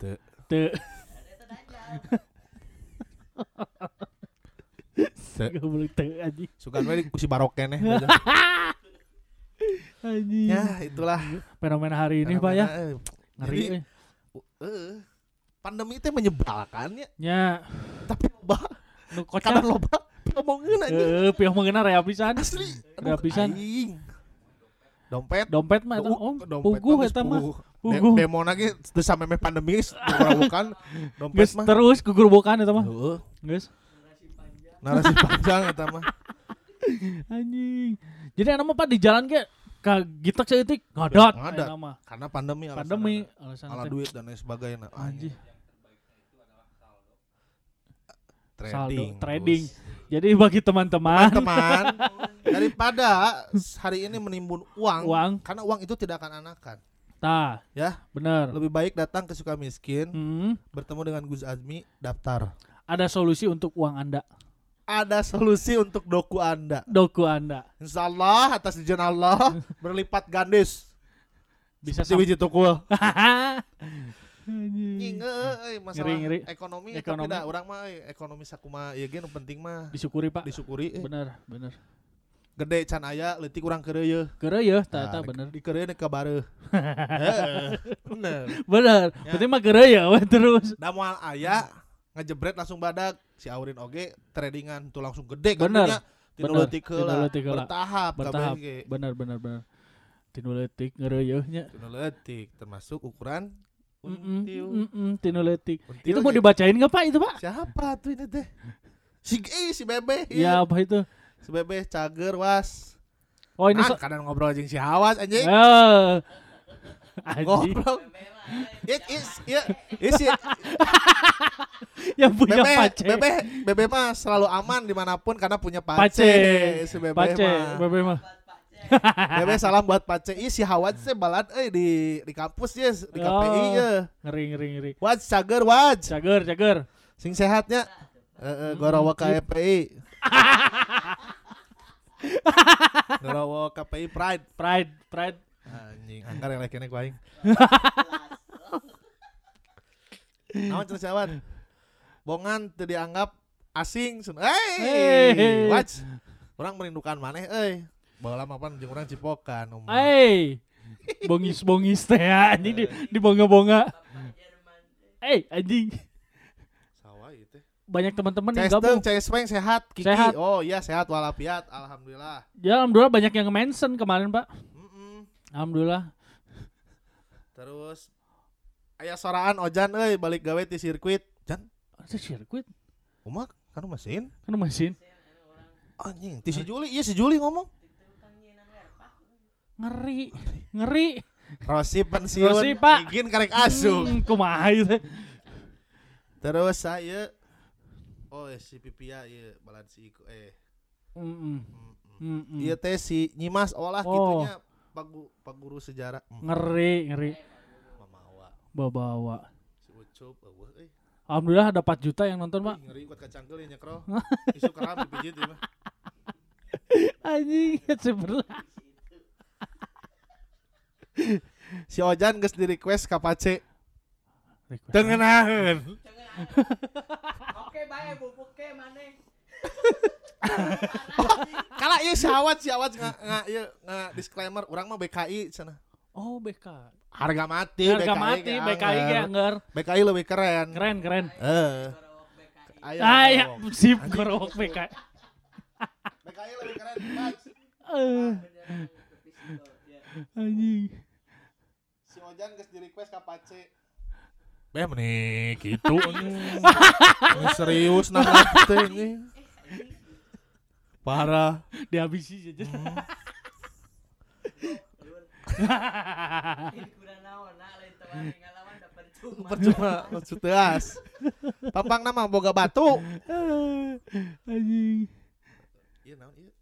B: Tuh,
A: Teu.
B: gak boleh tuh, anjing.
A: Sugan we di- si baroken eh.
B: Anjing.
A: Ya, itulah.
B: Fenomena hari ini, Pak ya.
A: Fenomena, eh,
B: Ngeri.
A: Jadi-
B: eh.
A: Heeh. Pandemi teh menyebalkan ya,
B: Nya,
A: tapi loba
B: nu kocak. Eh,
A: kadang loba ngomongin aja
B: Heeh, pieuh mengeuna rea pisan.
A: asli.
B: Rea pisan.
A: Aing. Dompet
B: Dompet mah eta
A: Uh,
B: om,
A: dompet
B: puguh
A: mah geus
B: eta mah.
A: puguh.
B: Uh,
A: De-
B: gua-
A: demo lagi terus sampai meh pandemi bukan dompet
B: Geus
A: mah
B: terus kegerobokan eta mah.
A: Heeh,
B: Geus.
A: narasi panjang eta mah
B: Anjing. Jadi anak mah pak di jalan ke ka gitak saeutik ngodot
A: Ngadat.
B: ayeuna mah.
A: karena pandemi alasan
B: Pandemi
A: ada.
B: alasan
A: ala
B: teh.
A: duit dan lain sebagainya
B: Anjing.
A: trading
B: Saldo, trading.
A: Bos.
B: Jadi bagi teman-teman
A: teman-teman daripada hari ini menimbun uang,
B: uang
A: karena uang itu tidak akan anakan
B: tah
A: Ya.
B: bener
A: lebih baik datang ke suka miskin
B: Hmm,
A: bertemu dengan Gus Azmi daftar
B: ada solusi untuk uang anda
A: ada solusi untuk doku anda
B: doku anda
A: Insya Allah atas izin Allah berlipat gandis
B: bisa
A: si
B: sampai
A: biji tukul
B: Anjing.
A: eh, masalah
B: Hmm. Ngeri, ngeri.
A: ekonomi
B: Ekonomi.
A: ekonomi dah orang mah euy, ekonomi sakuma ieu ge nu penting mah
B: disyukuri pak
A: disyukuri eh.
B: bener bener
A: gede can aya leutik urang keur ye
B: kere ya
A: Ah,
B: tata bener
A: di keur ye kabareuh Heeh, Eh, bener
B: bener
A: Ya.
B: berarti mah kere ya weh, terus
A: da moal aya ngejebret langsung badak si Aurin oge tradingan tuh langsung gede kan
B: Bener,
A: dunya. Tinu
B: bener,
A: leutik
B: tinu
A: heula,
B: leutik heula.
A: bertahap
B: Bertahap.
A: kabeh ge.
B: bener bener bener tinu letik ngere ya nya
A: Tinu leutik termasuk ukuran
B: Mm-mm,
A: until.
B: mm-mm, tinu letik
A: Until
B: itu mau
A: ge.
B: dibacain nggak pak itu pak
A: siapa tuh ini teh si eh, si bebe
B: ya apa itu
A: si bebe cager was
B: oh ini
A: Nah,
B: so-
A: kadang ngobrol aja si Hawas anjing. Oh.
B: Eh. Anjing,
A: Goblok. It is ya is it.
B: yang punya
A: Bebe,
B: pace
A: bebe, bebe mah selalu aman dimanapun karena punya pace.
B: pace
A: Si bebe
B: pace
A: mah.
B: bebe mah
A: Bebe salam buat pace. Ih si Hawas teh balad euy di di kampus ya di
B: Oh.
A: KPI ya.
B: ngeri ngeri ngeri
A: Waj cager waj.
B: cager cager
A: Sing sehatnya. Heeh, gorowo KPI. Gorowo KPI Pride.
B: pride pride
A: Anjing, angkar yang lekene gua aing. Naon cenah sahabat? Bongan teu dianggap asing. sun-
B: Hey.
A: Hey, watch. Orang merindukan maneh euy. Bawa lama pan jeung urang cipokan. um.
B: Hey, bongis bongis teh ya, anjing di di bonga bonga. Eh anjing
A: Sawah ieu teh.
B: banyak teman-teman yang
A: Cesteng,
B: gabung.
A: Cesteng sehat, Kiki.
B: Sehat.
A: Oh iya sehat walafiat, alhamdulillah.
B: Ya alhamdulillah banyak yang mention kemarin pak.
A: Mm-mm.
B: Alhamdulillah.
A: Terus aya soraan Ojan euy balik gawe di sirkuit. Jan,
B: Ada sirkuit
A: umak kan mesin.
B: kan mesin
A: Anjing, ti si Juli, iya si Juli ngomong.
B: ngeri ngeri.
A: Rosi pensiun
B: Rosi, Pak.
A: Igin karek asuh
B: Hmm, kumaha itu?
A: Terus saya Oh eh, si Pipia iya balad si Iko eh
B: Mm-mm,
A: mm, mm.
B: mm-mm.
A: Iya teh si Nyimas olah
B: Hmm. Oh.
A: gitunya pagu, paguru sejarah mm.
B: Ngeri ngeri
A: Mamawa
B: bawa.
A: si Ucup eh, eueuh euy
B: Alhamdulillah ada 4 juta yang nonton pak.
A: Ih, ngeri kuat kacangkeul ya nyekro isu keram dipijit ieu mah
B: Anjing sebelah.
A: Si Ojan geus di request ka Pace
B: Request.
A: Tengenaheun
C: Oke, bae bubuk ke maneh.
A: Kala ieu si Awat si Awat nga nga ieu nga disclaimer urang mah BKI cenah
B: Oh BK.
A: Harga mati
B: Harga
A: BKI
B: mati
A: ge
B: BKI ge
A: anger.
B: anger.
A: BKI lebih keren
B: Keren keren.
A: Eh. Ayo,
B: Ah ya,
A: ngomong.
B: sip gorowok BK.
A: BKI lebih keren. Mas.
B: Eh, anjing.
A: Si Ojan geus di-request ka Pace. Beh meni kitu serius nah teh
B: Eh,
A: ini. Parah.
B: Dihabisi aja.
A: Percuma maksud teas. Pampang nama boga batu.
B: anjing.
A: Iya naon ieu?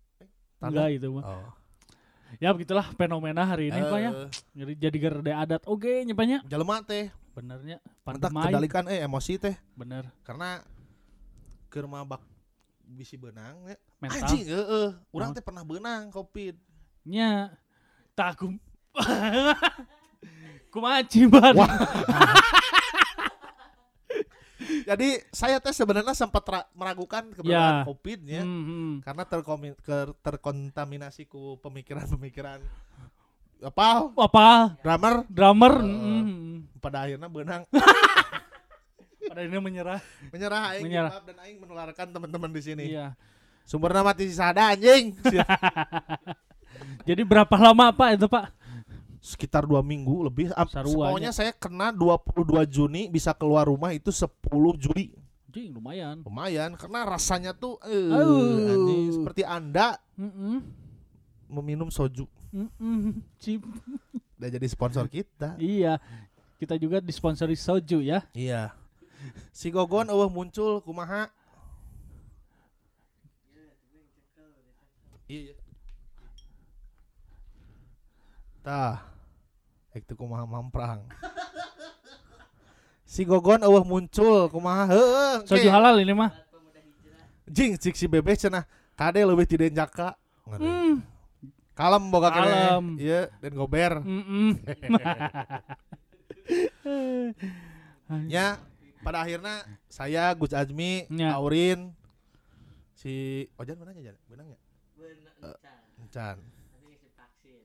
B: Enggak itu mah.
A: Oh.
B: Ya begitulah fenomena hari ini Pak ya.
A: Eh.
B: Jadi jadi garda adat oge nya Pak ya.
A: Jelema teh
B: Benernya
A: mentak
B: pandemai.
A: kendalikan eh emosi teh
B: Bener.
A: karena keur mabak bisi benang ya.
B: Mental.
A: Anjing heeh. Urang teh pernah benang covid.
B: Nya takum. Kumaha cibar.
A: Wah. Jadi saya teh sebenarnya sempat ra- meragukan keberadaan
B: Ya.
A: covid ya.
B: Hmm, hmm.
A: Karena terkomi- ke- terkontaminasi ku pemikiran-pemikiran apa
B: Apa?
A: drummer
B: Drummer.
A: Eh.
B: hmm, hmm.
A: pada akhirnya benang
B: Pada ini menyerah.
A: menyerah aing
B: Menyerah.
A: maaf, dan aing menularkan teman-teman di sini.
B: Iya.
A: Sumbernya mati si Sada anjing.
B: Jadi berapa lama Pak itu Pak?
A: sekitar dua minggu lebih. Ap-
B: Sarua
A: Pokoknya saya kena 22 Juni bisa keluar rumah itu 10 Juli.
B: Jing lumayan.
A: Lumayan karena rasanya tuh eh,
B: Auh.
A: anjing, seperti Anda
B: Mm-mm.
A: meminum soju.
B: Mm-mm. Cip.
A: Udah jadi sponsor kita.
B: Iya. Kita juga disponsori soju ya.
A: Iya. Si Gogon eueuh muncul kumaha? Iya. iya. Tah. Itu kumaha mamprang. Si Gogon eueuh muncul kumaha heueuh. engke.
B: Soju halal ini mah.
A: Jing cik si bebek cenah. Kade leuwih ti denjaka. Ngeri.
B: Mm,
A: Kalem boga kene.
B: Kalem.
A: Iya, dan gober.
B: Mm-mm.
A: Ya, pada akhirnya saya Gus Azmi,
B: Ya.
A: Aurin, si Ojan mana aja, benang ya? Encan.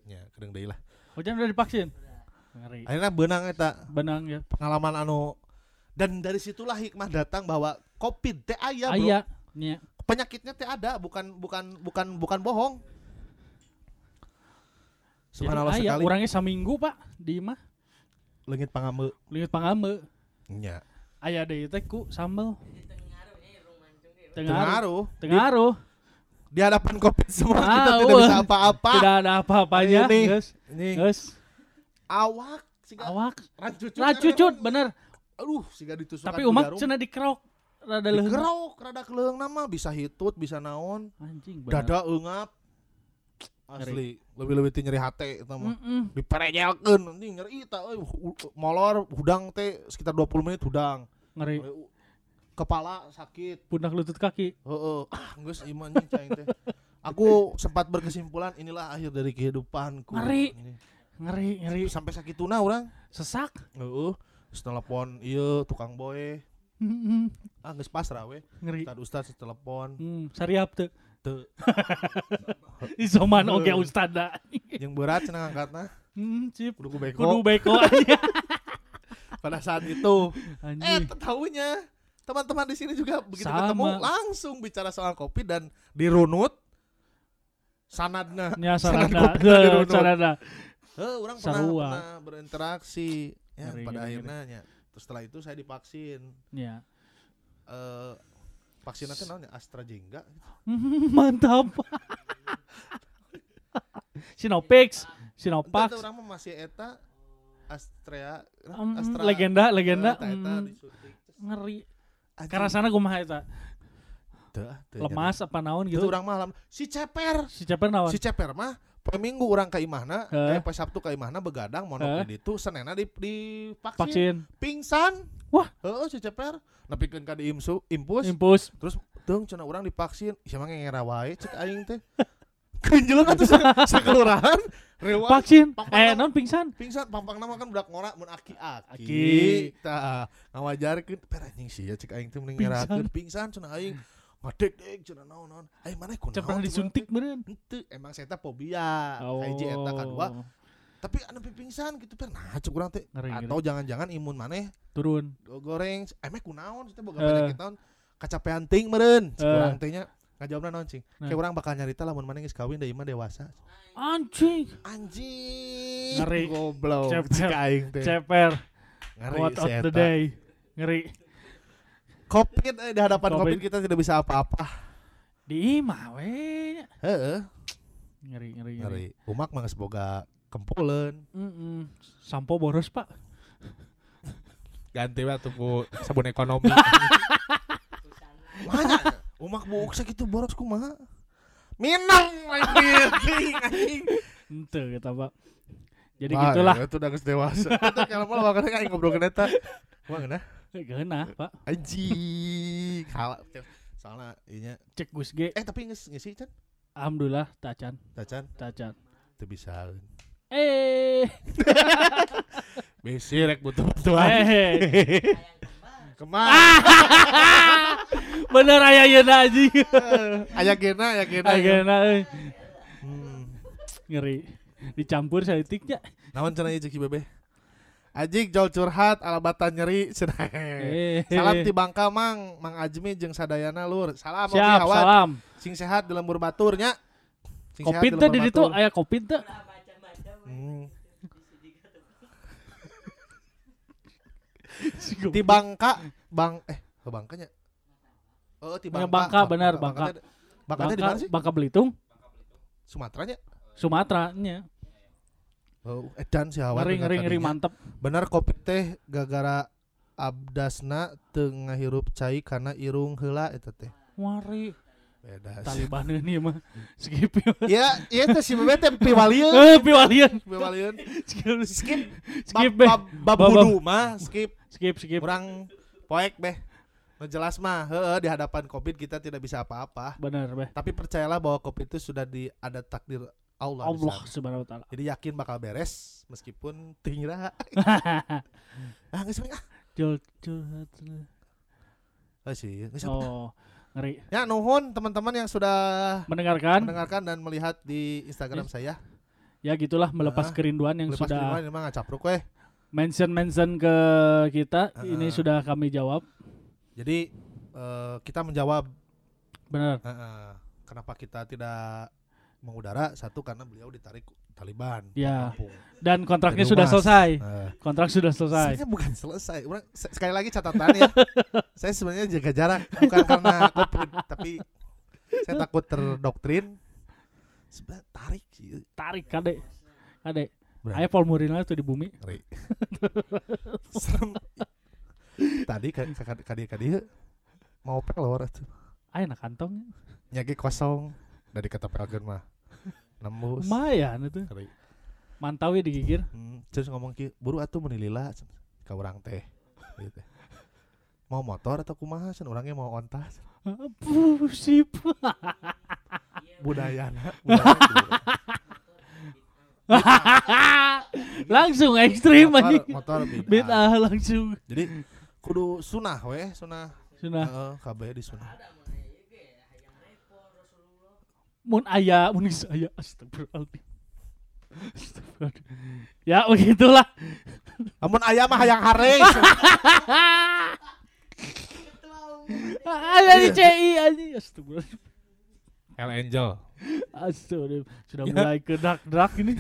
A: Ya, kedeng deui lah.
B: Ojan Oh, udah divaksin. Ngeri.
A: Akhirnya benang eta
B: Benang ya.
A: pengalaman anu dan dari situlah hikmah datang bahwa COVID teh aya, bro.
B: Aya. Nya.
A: Penyakitnya teh ada, bukan bukan bukan bukan bohong. Subhanallah
B: Jadi aya.
A: sekali.
B: Urangnya saminggu pak. Di mah.
A: Leungit Ya. pangambe.
B: Lihat pangame.
A: Nya.
B: Aya deh teh ku sambel. Tengaruh. eh,
A: Pengaruh.
B: Tengaruh.
A: Di hadapan COVID semua
B: Ah,
A: kita tidak bisa
B: wah.
A: apa-apa.
B: Tidak ada apa-apanya.
A: Ini.
B: Guys.
A: Ini
B: Guys.
A: awak kan siga-
B: Awak.
A: rancucut
B: Racucut bener.
A: aduh siga ditusukkan
B: Tapi
A: ku
B: umat
A: jarum.
B: cenah dikerok. Rada leuhna.
A: digerok rada keleung nama bisa hitut bisa naon
B: Anjing bener.
A: dada eungap asli lebih-lebih ti nyeri hate eta mah
B: Mm-mm.
A: diperejelkeun anjing nyeri eta euy Hu- molor hudang teh sekitar 20 menit hudang
B: Ngeri.
A: kepala sakit
B: Pundak lutut kaki.
A: heeh ah geus ieu mah anjing cai teh aku sempat berkesimpulan inilah akhir dari kehidupanku
B: Ngeri.
A: Ini.
B: Ngeri. Ngeri.
A: sampai sakituna urang
B: Sesak.
A: heeh terus telepon ieu tukang boe
B: Mm-mm.
A: ah geus pasrah we
B: Ngeri.
A: Ustad ustad telepon
B: Hmm, sariap teu.
A: Teu.
B: Isoman oge ustada.
A: yang berat senang angkatnya
B: Hmm, cip.
A: kudu ku beko Eh,
B: Kudu beko aja.
A: pada saat itu eh
B: Anjing.
A: tahunya teman-teman di sini juga begitu
B: Sama.
A: ketemu langsung bicara soal kopi dan dirunut sanadna
B: Ya
A: Sanad
B: sarana,
A: kopi tadi dirunut.
B: sarana.
A: Heuh, Eh, orang pernah,
B: Sarua.
A: pernah berinteraksi ya
B: Ngeri,
A: pada
B: ngeri,
A: akhirnya nya. Terus setelah itu saya divaksin
B: Ya.
A: eh vaksinnya teh namanya AstraZeneca
B: Hmm, Mantap. Sinopix,
A: Entah
B: Sinopax.
A: teu urang mah masih eta Astra
B: Hmm,
A: Astra
B: legenda,
A: eh,
B: legenda.
A: eta- eta
B: Hmm,
A: disuntik.
B: ngeri.
A: Anjing,
B: Karena sana kumaha eta?
A: teu ah, teu
B: Lemas apa naon
A: gitu
B: gitu.
A: orang malam si ceper
B: Si Ceper naon?
A: si ceper mah per minggu orang ke imahna eh
B: Heh.
A: pas sabtu ke imahna begadang
B: Heh.
A: monok di itu senena di, di vaksin,
B: Vaksin.
A: pingsan
B: Wah.
A: heeh si ceper nepikeun ka di imsu impus
B: Impus.
A: terus teuing cenah urang divaksin sia mah ngengera wae cek aing teh kenjeleng atuh sa- sakelurahan rewa
B: Vaksin.
A: Papa
B: Eh,
A: naon?
B: non pingsan.
A: pingsan pampang nama kan budak ngora mun
B: Aki.
A: aki-aki tah ngawajarkeun per anjing sia cek aing teh mending ngerakeun pingsan cenah aing ngadek-dek cenah naon-naon aing mana kunaon
B: Ceper
A: cenah
B: disuntik meureun.
A: Henteu, emang saya teh fobia oh. hiji eta kadua
B: Oh,
A: tapi anu pingsan gitu kan nah cuk urang teh
B: Ngeri,
A: atau jangan-jangan imun maneh
B: turun.
A: go- goreng emek kunaon sih teh boga
B: Eh.
A: penyakit naon kacapean ting meureun cik
B: Eh.
A: urang teh nya ngajawabna naon cing
B: Nah.
A: kayak urang bakal nyarita lamun maneh geus kawin deui mah dewasa
B: Anjing.
A: anjing
B: Ngeri.
A: goblok
B: Cep,
A: cik
B: cep,
A: aing teh
B: Ceper.
A: ngeri
B: What
A: si
B: of the
A: eta.
B: day. Ngeri.
A: covid eh, di hadapan
B: Covid.
A: covid kita tidak bisa apa-apa
B: Di imah we.
A: heeh
B: Ngeri, ngeri, ngeri.
A: ngeri umak mah geus boga kempuleun
B: Mm-mm. Sampo boros, Pak.
A: ganti wae tuku sabun ekonomi. Mana? Umak buuk sakitu boros kumaha? Minang lagi anjing.
B: Ente kita, Pak. Jadi
A: Bah,
B: gitulah.
A: ya, Itu udah geus dewasa. Eta kalau mau lawan kayak ngobrol ke eta. Wah, ngena.
B: Geuna, Pak.
A: Anjing. Kala soalnya inya.
B: Cek Gus G.
A: iya. Eh tapi geus ngisi Can.
B: Alhamdulillah tacan,
A: Tacan
B: tacan.
A: teu bisa.
B: Eh.
A: Bisi rek butuh
B: Eh.
A: bantuan. Kemana?
B: Ah. Bener aya yeuna anjing.
A: Aya gena, aya gena.
B: Ageuna euy.
A: Ah, Hmm.
B: Ngeri. Dicampur salitiknya.
A: Naon cenah ieu Ciki Bebe? Ajik jol curhat alabatan nyeri cenah.
B: Eh.
A: Salam ti Bangka Mang, Mang Ajmi jeung sadayana lur. Salam oge
B: Siap,
A: awak.
B: salam.
A: Sing sehat di lembur batur nya. Sing sehat di
B: Kopi teh
A: lembur
B: di ditu
A: batur.
B: aya kopi teh.
A: Hmm.
B: Si goblok.
A: Di Bangka, Bang eh ke Bangkanya. Oh, di
B: Ya,
A: Bangka.
B: Bangka, benar, Bangka.
A: Bangka. Bangka teh di mana sih?
B: Bangka Belitung,
A: Sumateranya.
B: Sumateranya.
A: Oh, edan si Hawa.
B: Ngeri ngeri ngeri mantep.
A: Benar kopi teh gara-gara abdasna tengah hirup cai karena irung heula eta teh.
B: Wari
A: Beda. sih.
B: Taliban ini mah skip.
A: Ya, ya teh si Bebe teh piwalieu.
B: Eh, piwalian.
A: Piwalieu.
B: Skip skip
A: Skip
B: skip
A: bab,
B: beh.
A: bab, bab
B: Bab-
A: budu mah skip
B: skip skip.
A: kurang poek beh ngejelas mah heeh di hadapan covid kita tidak bisa apa-apa
B: Benar beh.
A: tapi percayalah bahwa covid itu sudah di ada takdir Allah, di
B: Allah
A: sana.
B: subhanahu wa taala.
A: jadi yakin bakal beres meskipun tingira ah nggak sih ah
B: Jol jol hati.
A: Nggak sih nggak sih.
B: Oh, ngeri.
A: ya nuhun teman-teman yang sudah
B: Mendengarkan,
A: mendengarkan dan melihat di Instagram saya
B: ya gitulah melepas
A: Ah,
B: kerinduan yang
A: lepas
B: sudah
A: ini mah ngacapruk weh
B: mention-mention ke kita. Ini
A: Ah.
B: sudah kami jawab.
A: jadi eh, kita menjawab
B: Benar.
A: eh, eh, kenapa kita tidak mengudara satu karena beliau ditarik Taliban
B: Ya.
A: kampung.
B: Dan kontraknya
A: Jadi
B: sudah
A: mas.
B: selesai.
A: Eh.
B: Kontrak sudah selesai.
A: Sebenarnya bukan selesai. Orang se- sekali lagi catatan ya. saya sebenarnya jaga jarak bukan karena covid, tapi saya takut terdoktrin. Sebenarnya tarik iya. sih.
B: Tarik kade. Kade.
A: Berani.
B: Ayo Paul Murina tuh di bumi.
A: Ngeri. Serem. Tadi kakak kadi kadi mau pelor tuh.
B: Ayo nak kantong.
A: Nyagi kosong dari kata pelgen mah. Nembus.
B: Lumayan itu.
A: Ngeri.
B: Mantau ya digigir.
A: Hmm, terus ngomong ki, buru atuh menilila ka urang teh. Gitu. Mau motor atau kumaha Cen? Orangnya mau onta. Cen.
B: Pusip.
A: budayana, budayana.
B: langsung ekstrim aja.
A: motor, motor bid'ah.
B: Beda langsung.
A: jadi kudu sunah weh sunah
B: Sunah.
A: Heeh, kabeh di sunah
B: mun aya mun geus aya astagfirullahaladzim Astagfirullahaladzim. ya begitulah
A: amun aya mah hayang hare
B: ada di CI aja astagfirullahaladzim
A: El Angel
B: astagfirullahaladzim
A: Ya.
B: sudah mulai kedak dak ini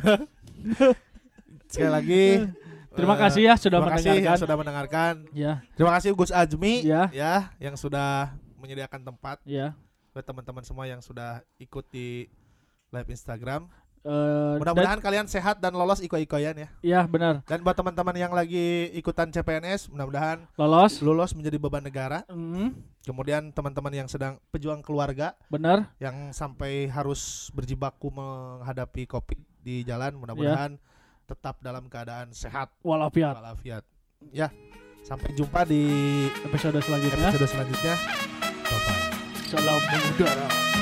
A: sekali lagi
B: Terima
A: eh,
B: kasih ya sudah
A: terima kasih
B: mendengarkan.
A: yang sudah mendengarkan
B: ya
A: terima kasih Gus Ajmi
B: Ya.
A: ya yang sudah menyediakan tempat
B: ya
A: buat teman-teman semua yang sudah ikut di live Instagram
B: Eh, dan-
A: mudah-mudahan kalian sehat dan lolos iko-ikoyan ya
B: ya benar
A: dan buat teman-teman yang lagi ikutan CPNS mudah-mudahan
B: lolos
A: lolos menjadi beban negara
B: Mm,
A: kemudian teman-teman yang sedang pejuang keluarga
B: benar
A: yang sampai harus berjibaku menghadapi covid di jalan mudah-mudahan tetap dalam keadaan sehat
B: walafiat
A: walafiat ya sampai jumpa di
B: episode selanjutnya
A: episode selanjutnya bye
B: salam mengudara